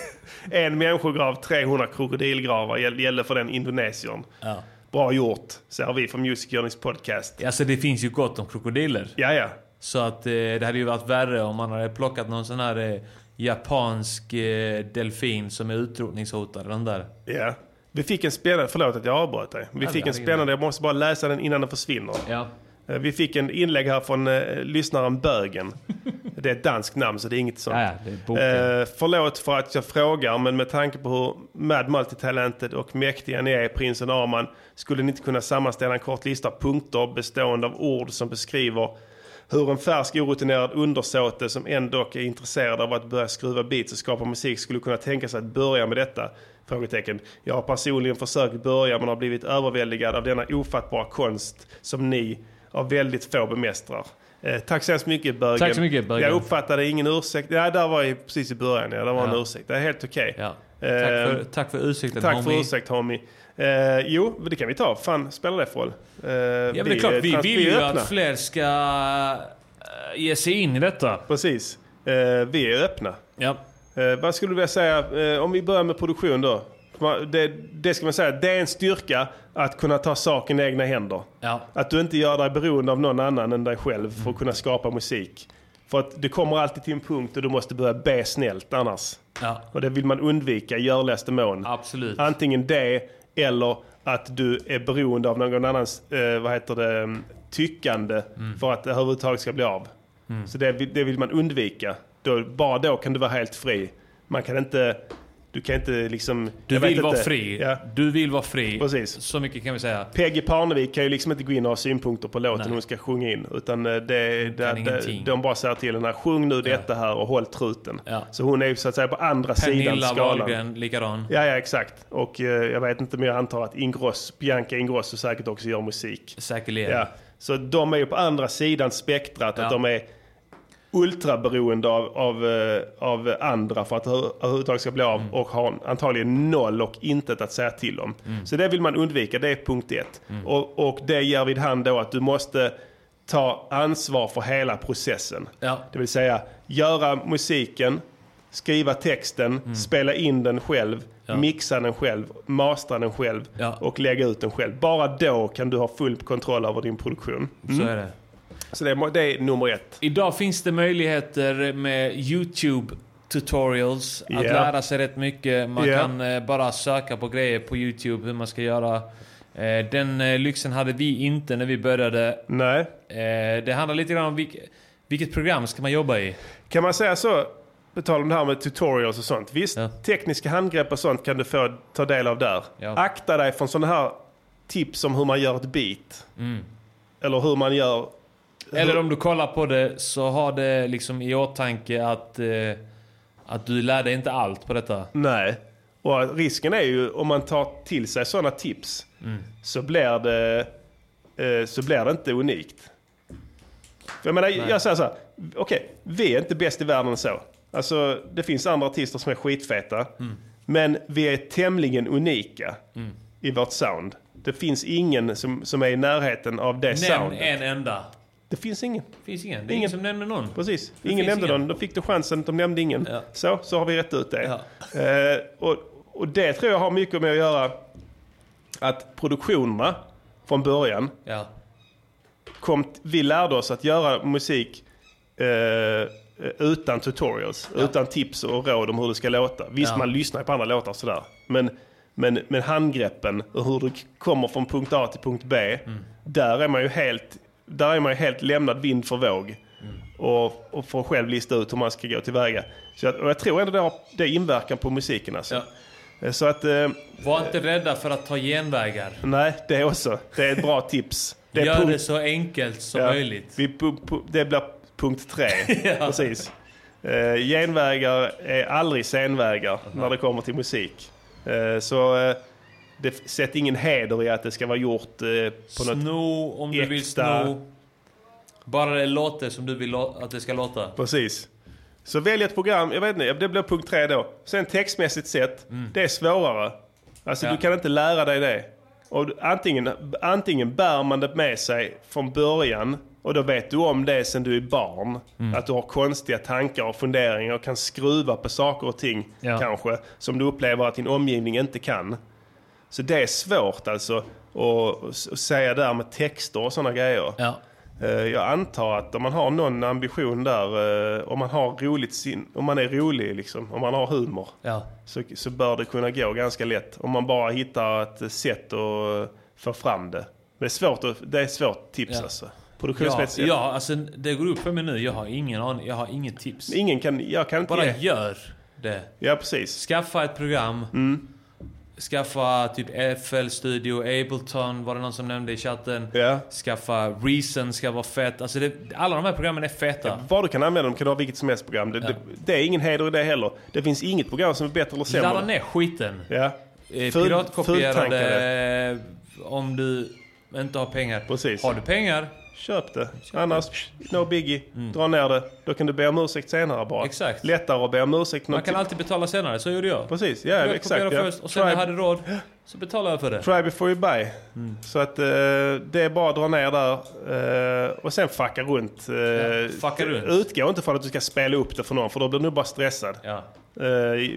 en människograv, 300 krokodilgravar gäll- gällde för den indonesiern.
Ja.
Bra gjort, säger vi från Music Journeys podcast.
Alltså det finns ju gott om krokodiler.
Ja, ja.
Så att eh, det hade ju varit värre om man hade plockat någon sån här eh, japansk eh, delfin som är utrotningshotad. Den där.
Ja. Vi fick en spännande, förlåt att jag avbröt dig. Vi
Ja,
fick en
det är ingen
spännande, jag måste bara läsa den innan den försvinner. Eh, Vi fick en inlägg här från eh, lyssnaren Bögen.
[LAUGHS]
Det är ett danskt namn så det är inget sånt.
Ja, ja, det är boken.
Eh, förlåt för att jag frågar men med tanke på hur mad multitalented och mäktiga ni är prinsen Arman skulle ni inte kunna sammanställa en kort lista av punkter bestående av ord som beskriver hur en färsk orutinerad undersåte som ändå är intresserad av att börja skruva beats och skapa musik skulle kunna tänka sig att börja med detta? Frågetecken. Jag har personligen försökt börja men har blivit överväldigad av denna ofattbara konst som ni av väldigt få bemästrar. Eh, tack så hemskt mycket Bögen.
Tack så mycket, Bögen.
Jag uppfattade ingen ursäkt. Ja, där var ju precis i början. Ja, där var en
Ja.
ursäkt. Det är helt okej. Ehm,
Tack för- tack för ursäkten,
Eh, Tack för
homie.
ursäkt homie. Eh, jo, men det kan vi ta. Fan, spelar det för roll? Eh,
Ja, men det är klart,
eh,
vi
trans-
vill ju
är
att
öppna.
fler ska eh, ge sig in i detta.
Precis. Eh, vi är öppna.
Ja.
Eh, vad skulle du vilja säga, eh, om vi börjar med produktion då. Man- Det, det ska man säga, det är en styrka att kunna ta saken i egna händer.
Ja.
Att du inte gör dig beroende av någon annan än dig själv för att kunna skapa musik. För att det kommer alltid till en punkt då du måste börja be snällt annars.
Ja.
Och det vill man undvika i görligaste mån.
Absolut.
Antingen det eller att du är beroende av någon annans eh, vad heter det, mm, tyckande
Mm.
för att det överhuvudtaget ska bli av.
Mm.
Så det, vill- det vill man undvika. Då, bara då kan du vara helt fri. Man kan inte... Du kan inte liksom...
Du
jag vet
vill vara
inte.
fri.
Ja.
Du vill vara fri.
Precis.
Så mycket kan vi säga.
Peggy Parnevik kan ju liksom inte gå in och ha synpunkter på låten
Nej.
hon ska sjunga in. Utan eh, det, det, det,
ingenting.
de bara säger till henne, sjung nu detta här och håll truten.
Ja.
Så hon är ju så att säga på andra sidan
Pernilla
skalan.
Wahlgren, likadan.
Ja, ja, exakt. Och eh, jag vet inte, men jag antar att Ingross, Bianca Ingrosso säkert också gör musik.
Säkerligen.
Ja. Så de är ju på andra sidan spektrat, att de är ultraberoende av, av, eh, av andra för att över- överhuvudtaget ska bli av och har antagligen noll och intet att säga till om.
Mm.
Så det vill man undvika, det är punkt ett.
Mm.
Och, och det ger vid hand då att du måste ta ansvar för hela processen. Det vill säga göra musiken, skriva texten, spela in den själv, mixa den själv, mastra den själv och lägga ut den själv. Bara då kan du ha full kontroll över din produktion.
Så är det.
Så det, må- det är nummer ett.
Idag finns det möjligheter med YouTube tutorials att
Ja.
lära sig rätt mycket. Man
Ja.
kan eh, bara söka på grejer på YouTube hur man ska göra. Eh, den eh, lyxen hade vi inte när vi började.
Nej.
Eh, det handlar lite grann om vilk, vilket program ska man jobba i.
Kan man säga så, på tal om det här med tutorials och sånt. Visst, tekniska handgrepp och sånt kan du få ta del av där. Akta dig från sådana här tips om hur man gör ett beat.
Mm.
Eller hur man gör...
Eller om du kollar på det så har det liksom i åtanke att, eh, att du lärde inte allt på detta.
Nej. Och risken är ju om man tar till sig sådana tips
Mm.
så blir det, eh, så blir det inte unikt. För Jag menar,
Nej.
jag säger så här. Okej, vi är inte bäst i världen så. Alltså, det finns andra artister som är skitfeta.
Mm.
Men vi är tämligen unika
Mm.
i vårt sound. Det finns ingen som, som är i närheten av det
Nämn
soundet.
en enda.
Det finns ingen.
finns ingen. Det är
Ingen.
ingen som nämner någon.
Precis.
Det
ingen
finns
nämnde
ingen.
någon. Då fick du chansen. De nämnde ingen. Så, så har vi rätt ut det. Eh, och, och det tror jag har mycket med att göra att produktionerna från början
Ja.
kom, t- vi lärde oss att göra musik eh, eh, utan tutorials, utan tips och råd om hur det ska låta. Visst,
Ja.
man lyssnar ju på andra låtar sådär. Men, men, men handgreppen och hur du k- kommer från punkt A till punkt B.
Mm.
Där är man ju helt, där är man ju helt lämnad vind för våg.
Mm.
Och, och får själv lista ut hur man ska gå tillväga. Så jag, och jag tror ändå det har det inverkan på musiken alltså. Eh, Så att... eh,
Var inte rädda för att ta genvägar.
Nej, det är också. Det är ett bra [LAUGHS] tips. Det är
Gör
punkt-
det så enkelt som
Ja,
möjligt.
Vi, pu- pu- det blir punkt
[LAUGHS]
tre. Precis. Eh, genvägar är aldrig senvägar när det kommer till musik. Eh, så eh, det, f- sätt ingen heder i att det ska vara gjort eh, på något
Sno om du vill
äkta-
sno. Bara det låter som du vill lå- att det ska låta.
Precis. Så välj ett program, jag vet inte, det blir punkt tre då. Sen textmässigt sett, det är svårare. Alltså
Mm. Ja.
du kan inte lära dig det. Och du- antingen, antingen bär man det med sig från början och då vet du om det sen du är barn.
Mm.
Att du har konstiga tankar och funderingar och kan skruva på saker och ting
Ja.
kanske. Som du upplever att din omgivning inte kan. Så det är svårt alltså att, att säga där med texter och sådana grejer. Eh, Jag antar att om man har någon ambition där, eh, om man har roligt sin, om man är rolig liksom, om man har humor.
Ja.
Så, så bör det kunna gå ganska lätt. Om man bara hittar ett sätt att eh, få fram det. Det är svårt, att, det är svårt tips
Ja.
alltså.
Ja,
Produktionsmässigt.
ja, alltså det går upp för mig nu. Jag har ingen aning. Jag har inget tips.
Ingen kan, jag kan inte
Bara
ge-
gör det.
Ja, precis.
Skaffa ett program.
Mm.
Skaffa typ FL Studio, Ableton var det någon som nämnde i chatten. Skaffa Reason ska vara fett. Alltså det, alla de här programmen är feta.
Var du kan använda dem kan du ha vilket som helst program. Det, det, det är ingen heder i det heller. Det finns inget program som är bättre eller sämre.
Ladda ner skiten.
Ja.
Eh,
Ful-
Piratkopierade eh, om du inte har pengar. Precis. Har du pengar?
Köp det. Annars, psh, no biggie. Dra ner det. Då kan du be om ursäkt senare bara.
Mm. Exakt.
Lättare att be om ursäkt.
Man
något-
kan alltid betala senare, så gjorde jag.
Precis, ja,
jag
exakt,
kopierade
ja.
först och sen när jag
Try-
hade Mm. råd så betalade jag för det.
Try before you buy. Så att eh, det är bara att dra ner där eh, och sen fucka runt. Eh,
fucka runt.
Utgå inte från att du ska spela upp det för någon för då blir du bara stressad. Eh,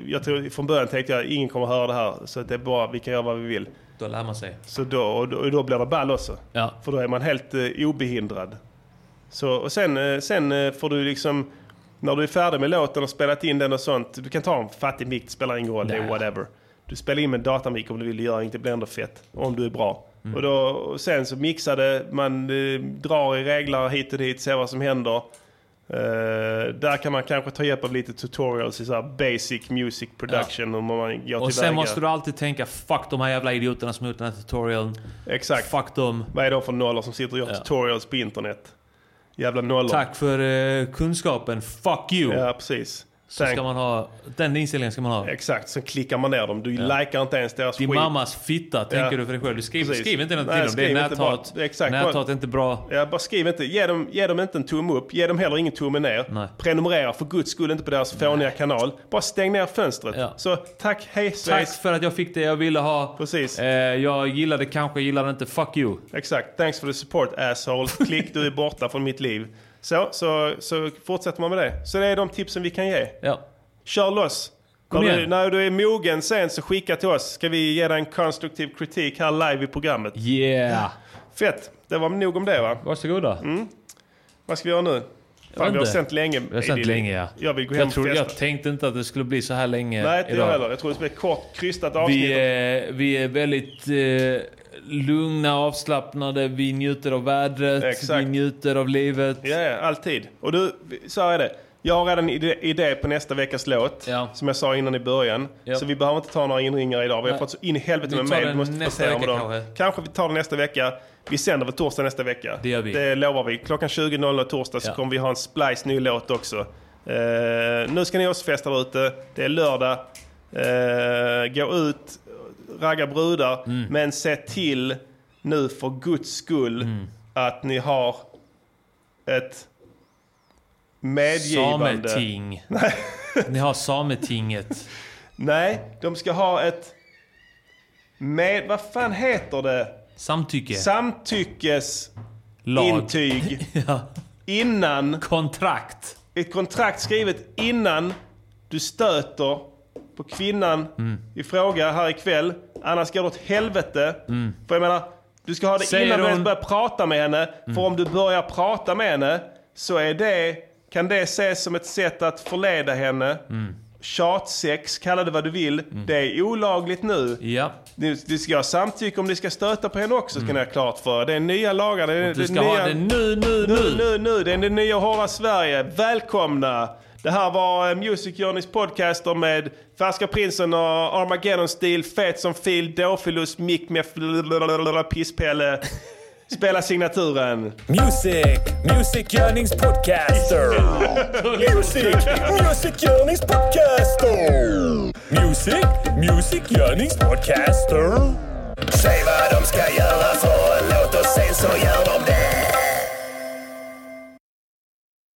jag tror, från början tänkte jag ingen kommer höra det här så att det är bara vi kan göra vad vi vill.
Då lär man sig.
Så då, och då, och då blir det ball också.
Ja.
För då är man helt eh, obehindrad. Så, och sen, eh, sen eh, får du liksom, när du är färdig med låten och spelat in den och sånt, du kan ta en fattig mick, det spelar ingen roll, det är
Nej.
whatever. Du spelar in med en datamik om du vill göra inte blir ändå fett, om du är bra.
Mm.
Och, då, och sen så mixade man, eh, drar i reglar hit och dit, ser vad som händer. Eh, där kan man kanske ta hjälp av lite tutorials i så här basic music production. Om man gör
Och sen
tillväga.
måste du alltid tänka fuck de här jävla idioterna som har gjort den här tutorialen.
Exakt.
Fuck dem.
Vad är de för nollor som sitter och gör tutorials på internet? Jävla nollor.
Tack för eh, kunskapen. Fuck you.
Ja, precis.
Så ska man ha, den inställningen ska man ha.
Exakt, så klickar man ner dem. Du
Ja.
likar inte ens deras
Din
skit.
mammas fitta tänker du för dig själv. Du skriver,
Precis.
skriv inte något
Nej,
till dem. Det är
skriv inte
näthat.
bara- Exakt.
Näthat är inte bra.
Ja, bara skriv inte. Ge dem, ge dem inte en tumme upp. Ge dem heller ingen tumme ner. Prenumerera för guds skull inte på deras fåniga kanal. Bara stäng ner fönstret. Så tack, hej
Tack
Sveriges.
för att jag fick det jag ville ha.
Precis.
Eh, jag gillade kanske, gillade inte. Fuck you.
Exakt. Thanks for the support asshole. Klick, du är borta från mitt liv. Så, så, så fortsätter man med det. Så det är de tipsen vi kan ge.
Ja.
Kör loss.
Kom
när, du,
igen.
när du är mogen sen så skicka till oss. Ska vi ge dig en konstruktiv kritik här live i programmet.
Yeah!
Fett. Det var nog om det va?
Varsågoda.
Mm. Vad ska vi göra nu? Fan,
vet
vi har
inte.
sänt länge.
Vi har sänt
Edil.
länge ja.
Jag vill gå hem
jag, tror,
och festa.
jag tänkte inte att det skulle bli så här länge
Nej, inte jag
idag.
heller. Jag tror det blir ett kort, krystat avsnitt.
Vi är, vi är väldigt eh, lugna, avslappnade. Vi njuter av vädret. Vi njuter av livet.
Ja, ja, alltid. Och du, så här är det. Jag har redan en idé- idé på nästa veckas låt, som jag sa innan i början.
Ja.
Så vi behöver inte ta några inringningar idag. Vi har
Nej.
fått så in i helvete
Vi
med
tar
mejl. Vi
den
måste
nästa
prestera med
vecka
dem. Kanske. vi tar det nästa vecka. Vi sänder väl torsdag nästa vecka. Det
gör vi.
Det lovar vi. Klockan 20.00 torsdag så
Ja.
kommer vi ha en splice ny låt också. Eh, nu ska ni också festa där ute. Det är lördag. Eh, gå ut, ragga brudar.
Mm.
Men se till nu för guds skull att ni har ett medgivande.
Sameting. [LAUGHS] Ni har Sametinget.
Nej, de ska ha ett... Med, vad fan heter det?
Samtycke.
Samtyckes...
Lag.
Intyg. Innan...
Kontrakt.
Ett kontrakt skrivet innan du stöter på kvinnan
Mm.
i fråga här ikväll. Annars går det åt helvete.
Mm.
För jag menar, du ska ha det
Säger
innan du
hon-
ens börjar prata med henne. För om du börjar prata med henne så är det Kan det ses som ett sätt att förleda henne?
Mm.
Tjatsex, kalla det vad du vill. Det är olagligt nu.
Ja.
Du, du ska ha samtycke om ni ska stöta på henne också, ska ni ha klart för er. Det är nya lagar. Det är,
Du ska
är
ha
nya...
det nu, nu,
Nu,
nu.
nu, nu. Det är det nya hårda Sverige. Välkomna! Det här var eh, Music Journeys podcaster med Färska Prinsen och Armageddon-stil, Fet som fil, Dåfilus, Mick med Pisspelle. Spela signaturen.
Music, Music Yearnings Podcaster.
Music, Music Yearnings Podcaster.
Music, Music Yearnings Podcaster.
Säg vad de ska göra för en låt och sen så gör de det.